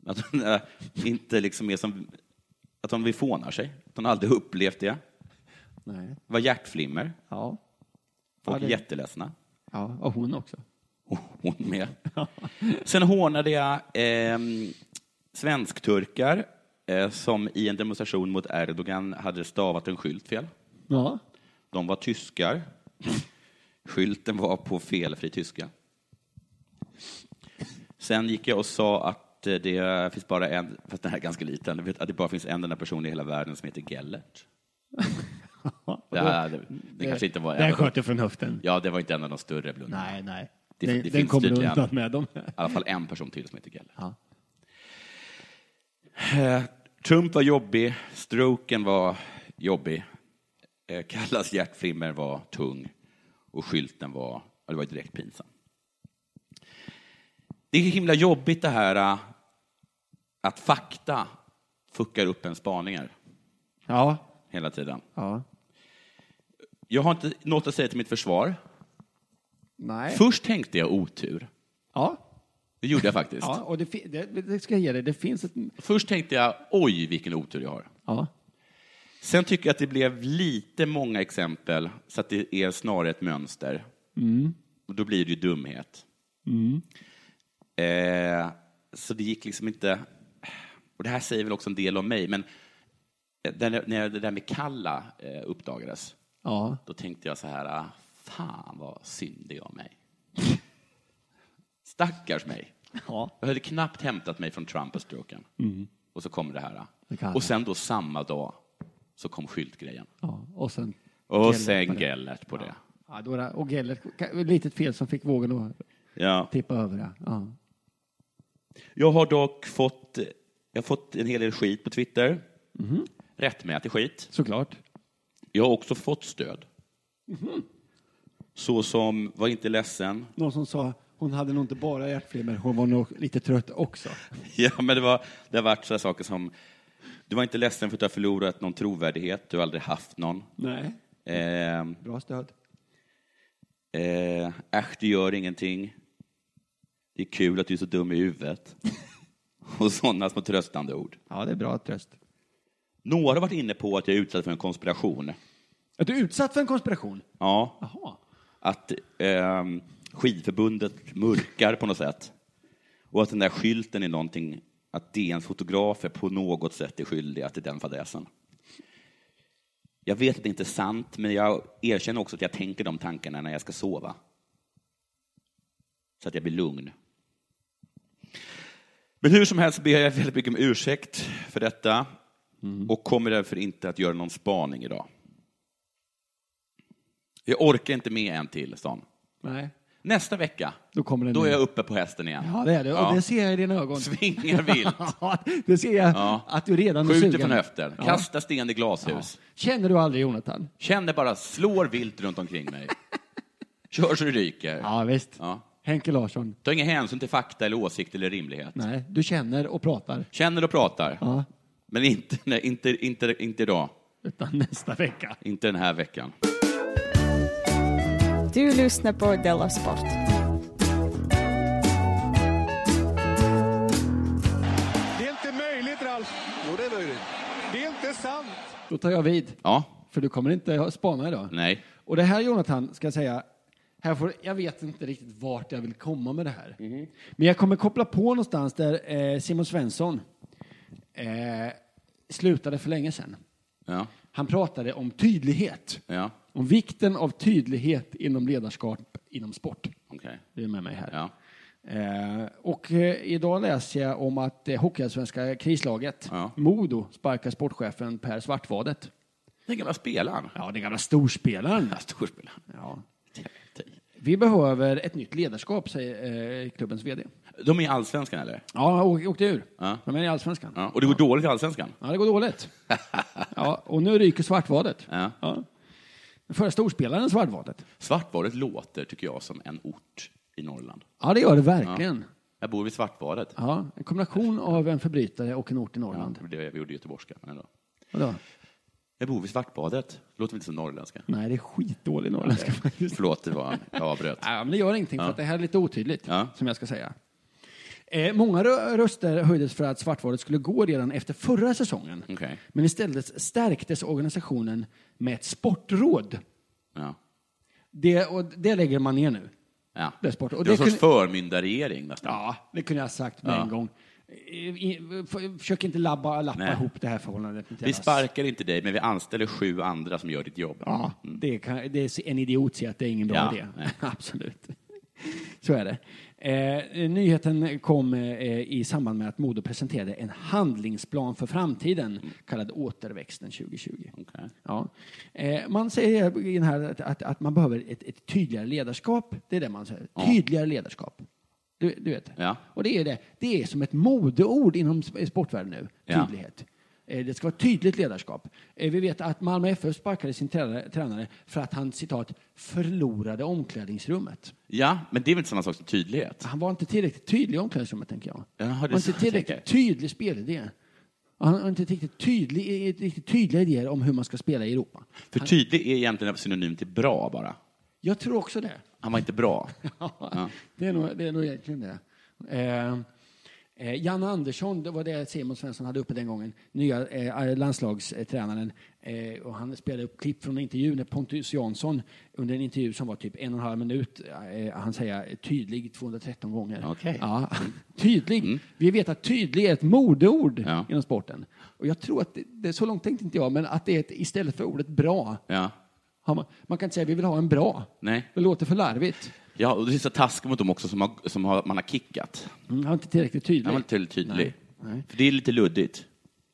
[SPEAKER 2] Att de eh, inte liksom är som... Att de förvånar sig. De har aldrig upplevt det.
[SPEAKER 3] Nej.
[SPEAKER 2] Det var hjärtflimmer.
[SPEAKER 3] Ja.
[SPEAKER 2] Folk
[SPEAKER 3] Ja, det-
[SPEAKER 2] är jätteledsna.
[SPEAKER 3] ja. Och hon också.
[SPEAKER 2] Hon med. Sen hånade jag eh, svenskturkar eh, som i en demonstration mot Erdogan hade stavat en skylt fel.
[SPEAKER 3] Ja.
[SPEAKER 2] De var tyskar. Skylten var på felfri tyska. Sen gick jag och sa att eh, det finns bara en, fast den här är ganska liten, jag vet att det bara finns en enda person i hela världen som heter Gellert. Det, här, det, det kanske inte var
[SPEAKER 3] Den
[SPEAKER 2] en,
[SPEAKER 3] sköt du från höften.
[SPEAKER 2] ja, det var inte en av de större blundarna.
[SPEAKER 3] Nej, nej.
[SPEAKER 2] Det-
[SPEAKER 3] den
[SPEAKER 2] det
[SPEAKER 3] den
[SPEAKER 2] finns
[SPEAKER 3] kommer du
[SPEAKER 2] tydligen.
[SPEAKER 3] undan med dem.
[SPEAKER 2] I alla fall en person till som heter Geller.
[SPEAKER 3] Ja.
[SPEAKER 2] Eh, Trump var jobbig, stroken var jobbig. Eh, Kallas hjärtflimmer var tung och skylten var, ja, det var direkt pinsam. Det är himla jobbigt det här eh, att fakta fuckar upp ens spaningar
[SPEAKER 3] Ja.
[SPEAKER 2] hela tiden.
[SPEAKER 3] ja.
[SPEAKER 2] Jag har inte något att säga till mitt försvar.
[SPEAKER 3] Nej.
[SPEAKER 2] Först tänkte jag otur.
[SPEAKER 3] Ja.
[SPEAKER 2] Det gjorde jag faktiskt.
[SPEAKER 3] Ja, och det, fi- det, det ska jag ge dig. Det finns ett...
[SPEAKER 2] Först tänkte jag, oj vilken otur jag har.
[SPEAKER 3] Ja.
[SPEAKER 2] Sen tycker jag att det blev lite många exempel, så att det är snarare ett mönster.
[SPEAKER 3] Mm.
[SPEAKER 2] Och då blir det ju dumhet.
[SPEAKER 3] Mm.
[SPEAKER 2] Eh, så det gick liksom inte... Och det här säger väl också en del om mig, men där, när det där med Kalla eh, uppdagades,
[SPEAKER 3] Ja.
[SPEAKER 2] då tänkte jag så här, ah, fan vad synd det är om mig. Stackars mig.
[SPEAKER 3] Ja.
[SPEAKER 2] Jag hade knappt hämtat mig från Trump och stroken.
[SPEAKER 3] Mm.
[SPEAKER 2] Och så kom det här.
[SPEAKER 3] Det kan
[SPEAKER 2] Och sen då samma dag så kom skyltgrejen.
[SPEAKER 3] ja. Och sen...
[SPEAKER 2] Och
[SPEAKER 3] Gellert på
[SPEAKER 2] sen
[SPEAKER 3] det.
[SPEAKER 2] Gellert på det.
[SPEAKER 3] Ja, då var det, och Gellert, ett litet fel som fick vågen att
[SPEAKER 2] Ja.
[SPEAKER 3] tippa över. Ja. Ja.
[SPEAKER 2] Jag har dock fått, jag har fått en hel del skit på Twitter.
[SPEAKER 3] Mhm.
[SPEAKER 2] Rättmätig skit.
[SPEAKER 3] Såklart.
[SPEAKER 2] Jag har också fått stöd. Så som, var inte ledsen.
[SPEAKER 3] Någon som sa hon hade nog inte bara hjärtflimmer, hon var nog lite trött också.
[SPEAKER 2] Ja, men det, var, det har varit så här saker som, du var inte ledsen för att du har förlorat någon trovärdighet, du har aldrig haft någon.
[SPEAKER 3] Nej.
[SPEAKER 2] Ehm,
[SPEAKER 3] Bra stöd.
[SPEAKER 2] Eh, äsch, det gör ingenting. Det är kul att du är så dum i huvudet. Och sådana små tröstande ord.
[SPEAKER 3] Ja, det är bra tröst.
[SPEAKER 2] Några har varit inne på att jag är utsatt för en konspiration.
[SPEAKER 3] Är du utsatt för en konspiration?
[SPEAKER 2] Ja. Att ehm, skidförbundet mörkar på något sätt. Och att den där skylten är någonting, att DNs fotografer på något sätt är skyldiga till den fadäsen. Jag vet att det inte är sant, men jag erkänner också att jag tänker de tankarna när jag ska sova. Så att jag blir lugn. Men hur som helst ber jag väldigt mycket om ursäkt för detta och kommer därför inte att göra någon spaning idag. Jag orkar inte med en till sån.
[SPEAKER 3] Nej.
[SPEAKER 2] Nästa vecka,
[SPEAKER 3] Då kommer den
[SPEAKER 2] då är
[SPEAKER 3] igen.
[SPEAKER 2] jag uppe på hästen igen.
[SPEAKER 3] Ja, det är du. Och det ser jag i dina ögon.
[SPEAKER 2] Svingar vilt.
[SPEAKER 3] Ja, det ser jag
[SPEAKER 2] Ja.
[SPEAKER 3] att du redan är
[SPEAKER 2] Skjuter
[SPEAKER 3] sugen.
[SPEAKER 2] från höften,
[SPEAKER 3] Ja.
[SPEAKER 2] kastar sten i glashus.
[SPEAKER 3] Känner du aldrig Jonathan?
[SPEAKER 2] Känner bara slår vilt runt omkring mig. Kör så det ryker.
[SPEAKER 3] Ja, visst.
[SPEAKER 2] Ja.
[SPEAKER 3] Henke Larsson?
[SPEAKER 2] Ta ingen hänsyn till fakta eller åsikt eller rimlighet.
[SPEAKER 3] Nej, du känner och pratar.
[SPEAKER 2] Känner och pratar.
[SPEAKER 3] Ja.
[SPEAKER 2] Men inte, nej, inte, inte, inte idag.
[SPEAKER 3] Utan nästa vecka.
[SPEAKER 2] Inte den här veckan.
[SPEAKER 8] Du lyssnar på Della Sport.
[SPEAKER 9] Det är inte möjligt, Ralf. Jo, det är möjligt. Det är inte sant.
[SPEAKER 3] Då tar jag vid.
[SPEAKER 2] Ja.
[SPEAKER 3] För du kommer inte ha- spana idag.
[SPEAKER 2] Nej.
[SPEAKER 3] Och det här Jonathan, ska jag säga, här får, jag vet inte riktigt vart jag vill komma med det här.
[SPEAKER 2] Mhm.
[SPEAKER 3] Men jag kommer koppla på någonstans där eh, Simon Svensson eh, slutade för länge sedan.
[SPEAKER 2] Ja.
[SPEAKER 3] Han pratade om tydlighet,
[SPEAKER 2] Ja.
[SPEAKER 3] om vikten av tydlighet inom ledarskap inom sport.
[SPEAKER 2] Okej.
[SPEAKER 3] Du är med mig här.
[SPEAKER 2] Ja.
[SPEAKER 3] Eh, och eh, idag läser jag om att eh, Hockeyallsvenska krislaget,
[SPEAKER 2] Ja.
[SPEAKER 3] Modo, sparkar sportchefen Per Svartvadet.
[SPEAKER 2] Den gamla spelaren.
[SPEAKER 3] Ja, den gamla storspelaren.
[SPEAKER 2] storspelaren.
[SPEAKER 3] Ja. Vi behöver ett nytt ledarskap, säger eh, klubbens vd.
[SPEAKER 2] De är i allsvenskan, eller?
[SPEAKER 3] Ja, å- åkte ur.
[SPEAKER 2] Ja.
[SPEAKER 3] De är i allsvenskan.
[SPEAKER 2] Ja. Och det går dåligt i allsvenskan?
[SPEAKER 3] Ja, det går dåligt. ja, och nu ryker Svartvadet.
[SPEAKER 2] Ja.
[SPEAKER 3] Den förra storspelaren Svartvadet.
[SPEAKER 2] Svartvaret låter, tycker jag, som en ort i Norrland.
[SPEAKER 3] Ja, det gör det verkligen.
[SPEAKER 2] Ja. Jag bor vid Svartvaret.
[SPEAKER 3] Ja, en kombination av en förbrytare och en ort i
[SPEAKER 2] Ja,
[SPEAKER 3] Norrland.
[SPEAKER 2] det var det vi gjorde i göteborgska. Men ändå.
[SPEAKER 3] Vadå?
[SPEAKER 2] Jag bor vid Svartbadet. Låter inte som norrländska.
[SPEAKER 3] Nej, det är skitdålig norrländska faktiskt.
[SPEAKER 2] Förlåt, det var, jag avbröt.
[SPEAKER 3] Ja, men det gör ingenting, för
[SPEAKER 2] Ja.
[SPEAKER 3] att det här är lite otydligt,
[SPEAKER 2] Ja.
[SPEAKER 3] som jag ska säga. Eh, många rö- röster höjdes för att Svartvadet skulle gå redan efter förra säsongen.
[SPEAKER 2] Okej.
[SPEAKER 3] Men istället stärktes organisationen med ett sportråd.
[SPEAKER 2] Ja.
[SPEAKER 3] Det, och det lägger man ner nu.
[SPEAKER 2] Ja.
[SPEAKER 3] Det är sport.
[SPEAKER 2] Det
[SPEAKER 3] Och
[SPEAKER 2] var en
[SPEAKER 3] det
[SPEAKER 2] sorts
[SPEAKER 3] kunde-
[SPEAKER 2] förmyndarregering nästan.
[SPEAKER 3] Ja, det kunde jag ha sagt med
[SPEAKER 2] Ja.
[SPEAKER 3] en gång. I, i, f- försök inte labba, lappa
[SPEAKER 2] Nej.
[SPEAKER 3] ihop det här förhållandet. med
[SPEAKER 2] Vi
[SPEAKER 3] deras-
[SPEAKER 2] sparkar inte dig, men vi anställer sju andra som gör ditt jobb.
[SPEAKER 3] Ja, det, kan, det är en idiot säger att det är ingen bra
[SPEAKER 2] Ja,
[SPEAKER 3] idé.
[SPEAKER 2] nej.
[SPEAKER 3] Absolut. Så är det. Eh, nyheten kom eh, i samband med att Modo presenterade en handlingsplan för framtiden kallad Återväxten 2020.
[SPEAKER 2] Okej.
[SPEAKER 3] Ja. Eh, man säger i den här att, att, att man behöver ett, ett tydligare ledarskap. Det är det man säger. Tydligare ledarskap. Du, du vet.
[SPEAKER 2] Ja.
[SPEAKER 3] Och det är, det. det är som ett modeord inom sp- sportvärlden nu.
[SPEAKER 2] Ja.
[SPEAKER 3] Tydlighet. Eh, Det ska vara tydligt ledarskap. Eh, Vi vet att Malmö FF sparkade sin trä- tränare för att han citat förlorade omklädningsrummet.
[SPEAKER 2] Ja, men det är väl inte samma sak som tydlighet?
[SPEAKER 3] Han var inte tillräckligt tydlig i omklädningsrummet, tänker jag.
[SPEAKER 2] Jaha, det
[SPEAKER 3] Han
[SPEAKER 2] är
[SPEAKER 3] var
[SPEAKER 2] så
[SPEAKER 3] inte
[SPEAKER 2] jag
[SPEAKER 3] tillräckligt tydlig spelidé. Han har inte riktigt, tydlig, eh, riktigt tydliga idéer om hur man ska spela i Europa.
[SPEAKER 2] För tydlig är egentligen synonym till bra bara.
[SPEAKER 3] Jag tror också det.
[SPEAKER 2] Han var inte bra. Ja.
[SPEAKER 3] Det är nog, det är nog egentligen det. Eh, eh, Janne Andersson, det var det Simon Svensson hade uppe den gången, nya eh, landslagstränaren. Eh, och han spelade upp klipp från en intervju när Pontus Jansson under en intervju som var typ en och en halv minut, eh, han säger tydlig 213 gånger.
[SPEAKER 2] Okej. Mm.
[SPEAKER 3] Ja, tydlig. Vi vet att tydlig är ett modeord inom sporten. Och jag tror att, det, det, så långt tänkte inte jag, men att det är ett, istället för ordet bra,
[SPEAKER 2] Ja.
[SPEAKER 3] har man, man kan inte säga vi vill ha en bra.
[SPEAKER 2] Nej.
[SPEAKER 3] Det låter för larvigt.
[SPEAKER 2] Ja, och det är så taskigt mot dem också som, har, som har, man har kickat.
[SPEAKER 3] Mm, Han var inte tillräckligt tydlig.
[SPEAKER 2] Han var inte tillräckligt tydlig.
[SPEAKER 3] Nej, nej.
[SPEAKER 2] För det är lite luddigt.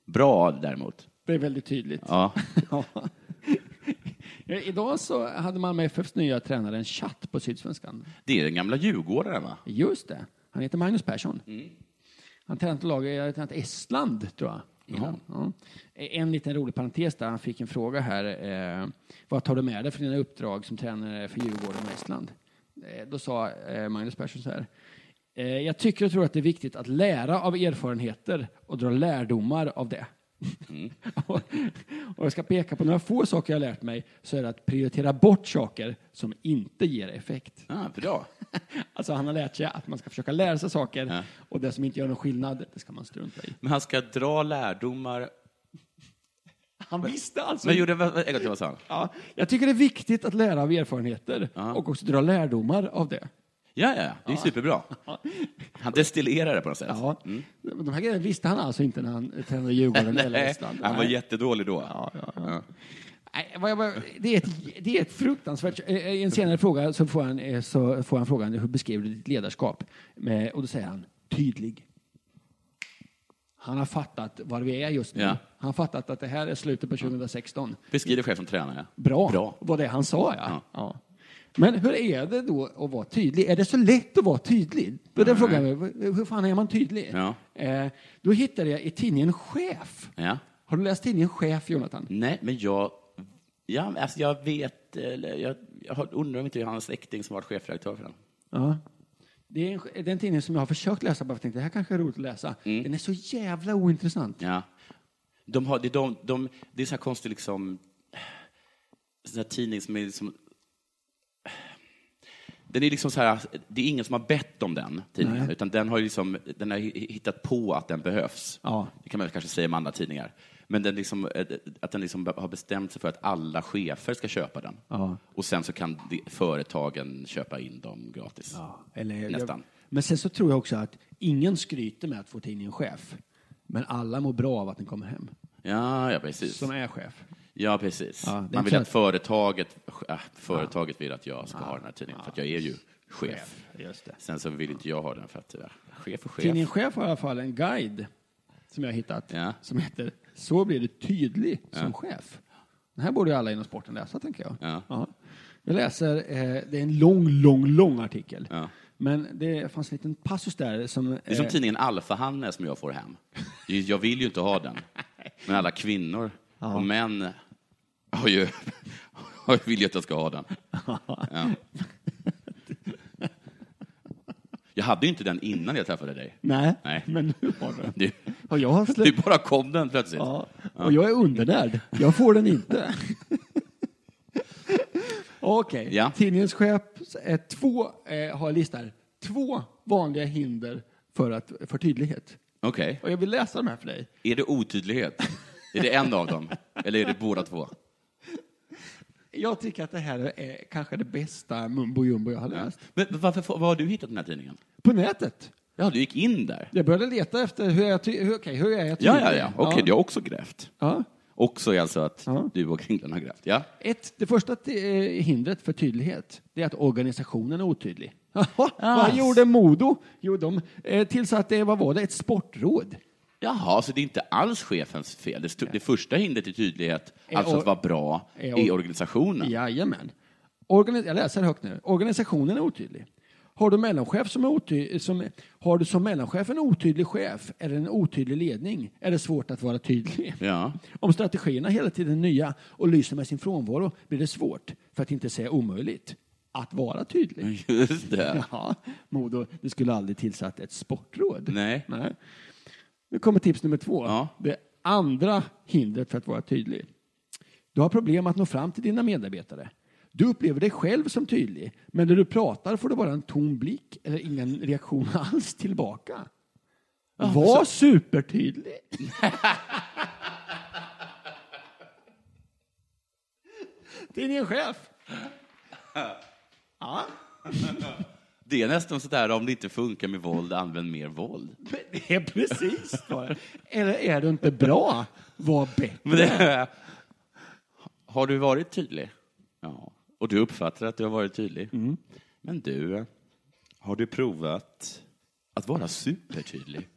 [SPEAKER 2] Bra däremot.
[SPEAKER 3] Det är väldigt tydligt.
[SPEAKER 2] Ja.
[SPEAKER 3] Ja. Idag så hade Malmö FFs nya tränare en chatt på Sydsvenskan.
[SPEAKER 2] Det är den gamla djurgårdaren, va?
[SPEAKER 3] Just det. Han heter Magnus Persson. Han tränat lag i har tränat Estland, tror jag. innan. Ja. En liten rolig parentes där. Han fick en fråga här. Eh, vad tar du med dig för dina uppdrag som tränare för Djurgården och Estland? Eh, då sa eh, Magnus Persson så här. Eh, jag tycker och tror att det är viktigt att lära av erfarenheter och dra lärdomar av det. och, och jag ska peka på några få saker jag har lärt mig så är det att prioritera bort saker som inte ger effekt.
[SPEAKER 2] Ah, bra.
[SPEAKER 3] alltså han har lärt sig att man ska försöka lära sig saker och det som inte gör någon skillnad, det ska man strunta i.
[SPEAKER 2] Men han ska dra lärdomar.
[SPEAKER 3] Han visste alltså
[SPEAKER 2] Men gjorde, vad- vad- en gång till, vad sa han?
[SPEAKER 3] Ja, jag tycker det är viktigt att lära av erfarenheter och också dra lärdomar av det.
[SPEAKER 2] Ja, ja, ja. det är superbra. Han destillerar det på något sätt.
[SPEAKER 3] Ja. De här grejerna visste han alltså inte när han eh, tränade Djurgården eller
[SPEAKER 2] Mm. Nej,
[SPEAKER 3] Estland.
[SPEAKER 2] han var
[SPEAKER 3] Nej.
[SPEAKER 2] jättedålig då. Ja.
[SPEAKER 3] Nej, vad jag, vad jag- det, är ett, det är ett fruktansvärt... eh, I en senare fråga så får han, eh, så får han frågan hur beskriver du ditt ledarskap? Eh, Och då säger han tydlig. Han har fattat var vi är just nu.
[SPEAKER 2] Ja.
[SPEAKER 3] Han har fattat att det här är slutet på 2016.
[SPEAKER 2] Beskriv dig själv som tränare.
[SPEAKER 3] Bra, var det han sa. Ja. Ja. Men hur är det då att vara tydlig? Är det så lätt att vara tydlig? Då den frågan, är, hur fan är man tydlig?
[SPEAKER 2] Ja.
[SPEAKER 3] Eh, då hittade jag i tidningen Chef.
[SPEAKER 2] Ja.
[SPEAKER 3] Har du läst tidningen Chef, Jonathan?
[SPEAKER 2] Nej, men jag... Ja, men alltså jag vet... Eller, jag, jag har- undrar om inte det är hans släkting som varit chefredaktör för den.
[SPEAKER 3] Ja. Det är, en, det är en tidning som jag har försökt läsa bara för att tänkte, det här kanske är roligt att läsa.
[SPEAKER 2] Mm.
[SPEAKER 3] Den är så jävla ointressant.
[SPEAKER 2] Ja. De har, det, är de, de, det är så här konstigt liksom... Sån här tidning som är liksom... Den är liksom så här, det är ingen som har bett om den tidningen,
[SPEAKER 3] Nej.
[SPEAKER 2] utan den har, ju liksom, den har hi- hittat på att den behövs.
[SPEAKER 3] Ja.
[SPEAKER 2] Det kan man väl kanske säga om andra tidningar. Men den liksom, eh, att den liksom har bestämt sig för att alla chefer ska köpa den.
[SPEAKER 3] Ja.
[SPEAKER 2] Och sen så kan de, företagen köpa in dem gratis. Nästan.
[SPEAKER 3] Men sen så tror jag också att ingen skryter med att få tidningen Chef. Men alla mår bra av att den kommer hem.
[SPEAKER 2] Ja, ja, precis.
[SPEAKER 3] Som är chef.
[SPEAKER 2] Ja, precis.
[SPEAKER 3] Ja, det är
[SPEAKER 2] Man vill
[SPEAKER 3] klart.
[SPEAKER 2] att företaget, äh, företaget vill att jag ska ha den här tidningen, för att jag är ju chef.
[SPEAKER 3] Chef, just det.
[SPEAKER 2] Sen så vill inte jag ha den för att äh, chef och chef.
[SPEAKER 3] Tidningen Chef har i alla fall en guide som jag har hittat
[SPEAKER 2] Ja.
[SPEAKER 3] som heter Så blir du tydlig som
[SPEAKER 2] Ja.
[SPEAKER 3] chef. Den här borde ju alla inom sporten läsa, tänker jag.
[SPEAKER 2] Ja.
[SPEAKER 3] Jag läser, eh, det är en lång, lång, lång artikel.
[SPEAKER 2] Ja.
[SPEAKER 3] Men det fanns en liten passus där som...
[SPEAKER 2] Det är som
[SPEAKER 3] eh,
[SPEAKER 2] tidningen Alfa-Hanne som jag får hem. Jag vill ju inte ha den. Men alla kvinnor och män har ju, har ju vill ju att jag ska ha den. Ja. Jag hade ju inte den innan jag träffade dig.
[SPEAKER 3] Nej,
[SPEAKER 2] Nej.
[SPEAKER 3] men nu har du den.
[SPEAKER 2] Du,
[SPEAKER 3] Och jag har
[SPEAKER 2] du
[SPEAKER 3] släppt...
[SPEAKER 2] bara kom den plötsligt.
[SPEAKER 3] Ja. Och jag är undernärd. Jag får den inte. Okej.
[SPEAKER 2] Ja.
[SPEAKER 3] Tidningens chef eh, två, eh, har listar två vanliga hinder för, att, för tydlighet.
[SPEAKER 2] Okej.
[SPEAKER 3] Och jag vill läsa de här för dig.
[SPEAKER 2] Är det otydlighet? är det en av dem? Eller är det båda två?
[SPEAKER 3] Jag tycker att det här är kanske det bästa mumbo jumbo jag har läst.
[SPEAKER 2] Men varför, får- var har du hittat den här tidningen?
[SPEAKER 3] På nätet.
[SPEAKER 2] Ja, du gick in där.
[SPEAKER 3] Jag började leta efter hur, jag ty- hur, okej, hur är jag tydlig?
[SPEAKER 2] Ja, ja, ja. Okej, du har också grävt.
[SPEAKER 3] Ja.
[SPEAKER 2] Också är alltså att du och Kringlan har grävt. Ja.
[SPEAKER 3] Ett, det första ti- eh, hindret för tydlighet det är att organisationen är otydlig. Jaha, Vad gjorde Modo? Jo, de eh, tillsatte vad var det, ett sportråd.
[SPEAKER 2] Jaha, så det är inte alls chefens fel. Det, sto- det första hindret till tydlighet,
[SPEAKER 3] Är
[SPEAKER 2] alltså
[SPEAKER 3] or-
[SPEAKER 2] att vara bra,
[SPEAKER 3] är
[SPEAKER 2] är,
[SPEAKER 3] or-
[SPEAKER 2] organisationen.
[SPEAKER 3] Jajamän. Organi- jag läser högt nu. Organisationen är otydlig. Har du mellanchef som är oty- som, har du som mellanchef en otydlig chef eller en otydlig ledning är det svårt att vara tydlig.
[SPEAKER 2] Ja.
[SPEAKER 3] Om strategierna hela tiden är nya och lyser med sin frånvaro blir det svårt, för att inte säga omöjligt, att vara tydlig.
[SPEAKER 2] Just det.
[SPEAKER 3] Ja, Modo, du skulle aldrig tillsatt ett sportråd.
[SPEAKER 2] Nej.
[SPEAKER 3] Nu kommer tips nummer två. Det andra hindret för att vara tydlig. Du har problem att nå fram till dina medarbetare. Du upplever dig själv som tydlig, men när du pratar får du bara en tom blick eller ingen reaktion alls tillbaka. Var supertydlig. Tidningen Chef. Ja.
[SPEAKER 2] Det är nästan sådär om det inte funkar med våld, använd mer våld.
[SPEAKER 3] Det är precis vad Eller är du inte bra? Var
[SPEAKER 2] Men det
[SPEAKER 3] bättre.
[SPEAKER 2] är, har du varit tydlig? Mm. Ja. Och du uppfattar att du har varit tydlig? Men du, har du provat att vara supertydlig?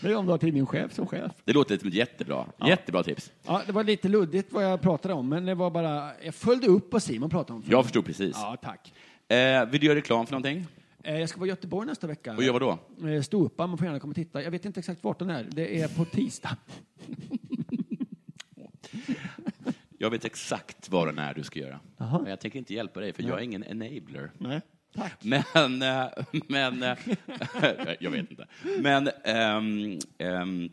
[SPEAKER 3] Det är om du har tidningen Chef som chef.
[SPEAKER 2] Det låter som ett jättebra, jättebra tips.
[SPEAKER 3] Ja, det var lite luddigt vad jag pratade om, men det var bara... Jag följde upp vad Simon pratade om.
[SPEAKER 2] Jag förstod precis.
[SPEAKER 3] Ja, tack.
[SPEAKER 2] Eh, vill du göra reklam för någonting?
[SPEAKER 3] Eh, Jag ska vara i Göteborg nästa vecka.
[SPEAKER 2] Och gör vad då?
[SPEAKER 3] Eh, Ståuppan, man får gärna komma och titta. Jag vet inte exakt vart den är. Det är på tisdag.
[SPEAKER 2] Jag vet exakt vad och när du ska göra.
[SPEAKER 3] Jaha.
[SPEAKER 2] Men jag tänker inte hjälpa dig, för jag är ingen enabler.
[SPEAKER 3] Nej, tack.
[SPEAKER 2] Men, eh, men eh, jag vet inte. Men ehm, ehm,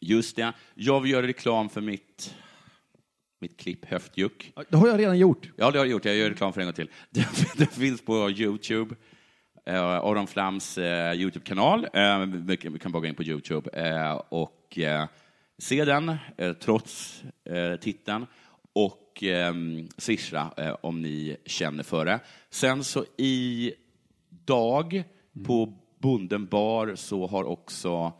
[SPEAKER 2] just det, jag vill göra reklam för mitt, mitt klipp Höftjuck.
[SPEAKER 3] Det har jag redan gjort.
[SPEAKER 2] Ja, det har jag gjort. Jag gör reklam för en gång till. Det, det finns på Youtube. Eh, Aron Flams eh, Youtube-kanal. Eh, vi, kan- vi kan bara gå in på Youtube eh, och eh, se den, eh, trots eh, titeln. Och eh, swisha eh, om ni känner för det. Sen så i dag på Bonden bar så har också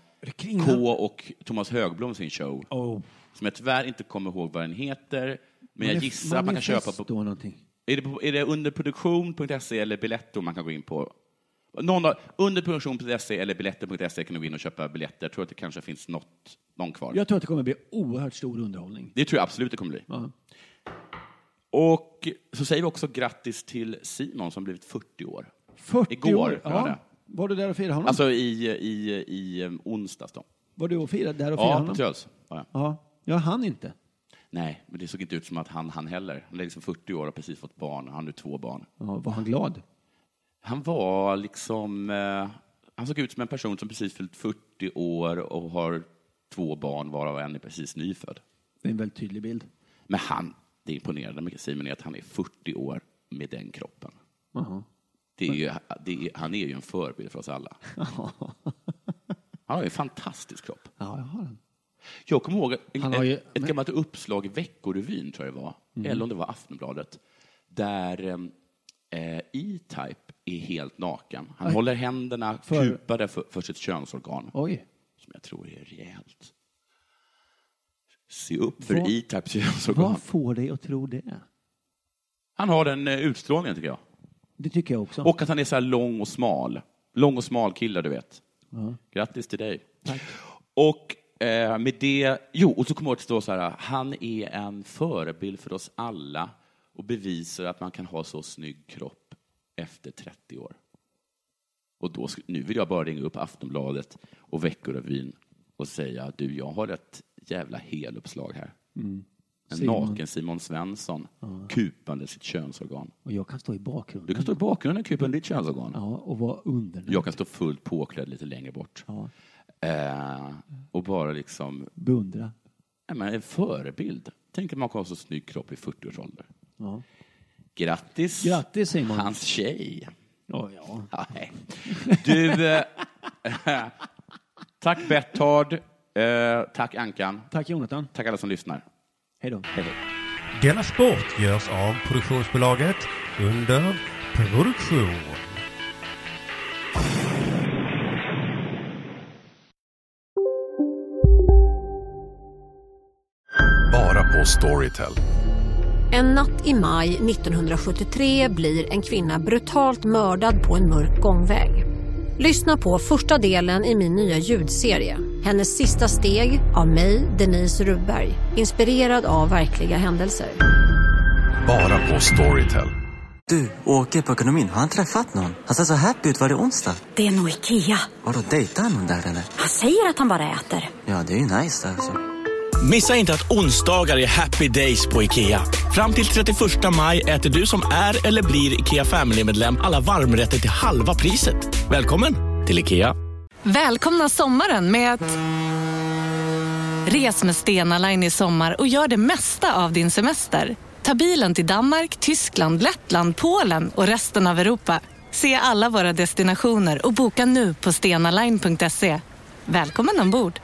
[SPEAKER 2] K och Thomas Högblom sin show.
[SPEAKER 3] Oh.
[SPEAKER 2] Som jag tyvärr inte kommer ihåg vad den heter. Men jag
[SPEAKER 3] Manif-
[SPEAKER 2] gissar att man kan köpa
[SPEAKER 3] manifest
[SPEAKER 2] på
[SPEAKER 3] då någonting.
[SPEAKER 2] är det, på- är det underproduktion.se E eller Biletto man kan gå in på? Någon av, underproduktion.se E eller Biletto.se kan du gå in och köpa biljetter. Jag tror att det kanske finns något, någon kvar.
[SPEAKER 3] Jag tror att det kommer bli oerhört stor underhållning.
[SPEAKER 2] Det tror jag absolut det kommer bli. Och så säger vi också grattis till Simon som blivit 40 år.
[SPEAKER 3] 40
[SPEAKER 2] Igår,
[SPEAKER 3] år.
[SPEAKER 2] var det.
[SPEAKER 3] Var du där och firade honom?
[SPEAKER 2] Alltså i, i, i eh, onsdags då.
[SPEAKER 3] var du och firade där och firade
[SPEAKER 2] Ja, på
[SPEAKER 3] honom?
[SPEAKER 2] Töls. Ja.
[SPEAKER 3] Ja, jag hann inte.
[SPEAKER 2] Nej, men det såg inte ut som att han, han heller. Han är liksom 40 år och har precis fått barn. Han har nu två barn.
[SPEAKER 3] Ja, var han glad?
[SPEAKER 2] Han var liksom... Eh, han såg ut som en person som precis fyllt 40 år och har två barn varav en är precis nyfödd.
[SPEAKER 3] Det är en väldigt tydlig bild.
[SPEAKER 2] Men han, det imponerande med Simon är att han är 40 år med den kroppen.
[SPEAKER 3] Jaha.
[SPEAKER 2] Det är ju, det är, han är ju en förebild för oss alla. Han har ju en fantastisk kropp.
[SPEAKER 3] Ja, jag har den.
[SPEAKER 2] Jag kommer ihåg en,
[SPEAKER 3] Han har ju-
[SPEAKER 2] ett, ett gammalt uppslag i Veckorevyn, tror jag det var,
[SPEAKER 3] Mm.
[SPEAKER 2] eller om det var Aftonbladet, där em, eh, E-Type är helt naken. Han
[SPEAKER 3] Aj.
[SPEAKER 2] håller händerna
[SPEAKER 3] För-
[SPEAKER 2] kupade för, för sitt könsorgan,
[SPEAKER 3] Oj.
[SPEAKER 2] som jag tror är rejält. Se upp för
[SPEAKER 3] Vad-
[SPEAKER 2] E-Types könsorgan.
[SPEAKER 3] Vad får dig att tro det?
[SPEAKER 2] Han har den eh, utstrålningen, tycker jag.
[SPEAKER 3] Det tycker jag också.
[SPEAKER 2] Och att han är så här lång och smal. Lång och smal kille, du vet.
[SPEAKER 3] Ja.
[SPEAKER 2] Grattis till dig. Och eh, med det, jo, och så kommer jag att stå så här, han är en förebild för oss alla och bevisar att man kan ha så snygg kropp efter 30 år. Och då, sk- nu vill jag bara ringa upp Aftonbladet och Veckorevyn och säga, du, jag har ett jävla heluppslag här.
[SPEAKER 3] Mm.
[SPEAKER 2] En
[SPEAKER 3] Simon.
[SPEAKER 2] naken Simon Svensson, kupande sitt könsorgan.
[SPEAKER 3] Och jag kan stå i bakgrunden.
[SPEAKER 2] Du kan stå i bakgrunden och kupande ditt könsorgan.
[SPEAKER 3] Ja, och vara under.
[SPEAKER 2] Jag kan stå fullt påklädd lite längre bort. Eh, och bara liksom...
[SPEAKER 3] Beundra.
[SPEAKER 2] Nej, men en förebild. Tänk att man kan ha så snygg kropp i 40 års ålder.
[SPEAKER 3] Ja.
[SPEAKER 2] Grattis,
[SPEAKER 3] Grattis Simon.
[SPEAKER 2] hans tjej.
[SPEAKER 3] Ja, ja.
[SPEAKER 2] Nej. Du, eh, tack Berthard. Eh, tack Ankan.
[SPEAKER 3] Tack Jonathan.
[SPEAKER 2] Tack alla som lyssnar.
[SPEAKER 3] Hej då.
[SPEAKER 2] Hej, hej.
[SPEAKER 10] Denna sport görs av produktionsbolaget under produktion.
[SPEAKER 11] Bara på Storytel.
[SPEAKER 12] En natt i maj 1973 blir en kvinna brutalt mördad på en mörk gångväg. Lyssna på första delen i min nya ljudserie. Hennes sista steg av mig, Denise Rubberg. Inspirerad av verkliga händelser.
[SPEAKER 11] Bara på Storytel.
[SPEAKER 13] Du, åker på ekonomin. Har han träffat någon? Han ser så happy ut. Var det onsdag?
[SPEAKER 8] Det är nog Ikea.
[SPEAKER 13] Har du dejtat någon där eller?
[SPEAKER 8] Han säger att han bara äter.
[SPEAKER 13] Ja, det är ju nice alltså.
[SPEAKER 3] Missa inte att onsdagar är happy days på IKEA. Fram till 31 maj äter du som är eller blir IKEA Family-medlem alla varmrätter till halva priset. Välkommen till IKEA.
[SPEAKER 6] Välkomna sommaren med att... Res med Stena Line i sommar och gör det mesta av din semester. Ta bilen till Danmark, Tyskland, Lettland, Polen och resten av Europa. Se alla våra destinationer och boka nu på stenaline.se. Välkommen ombord!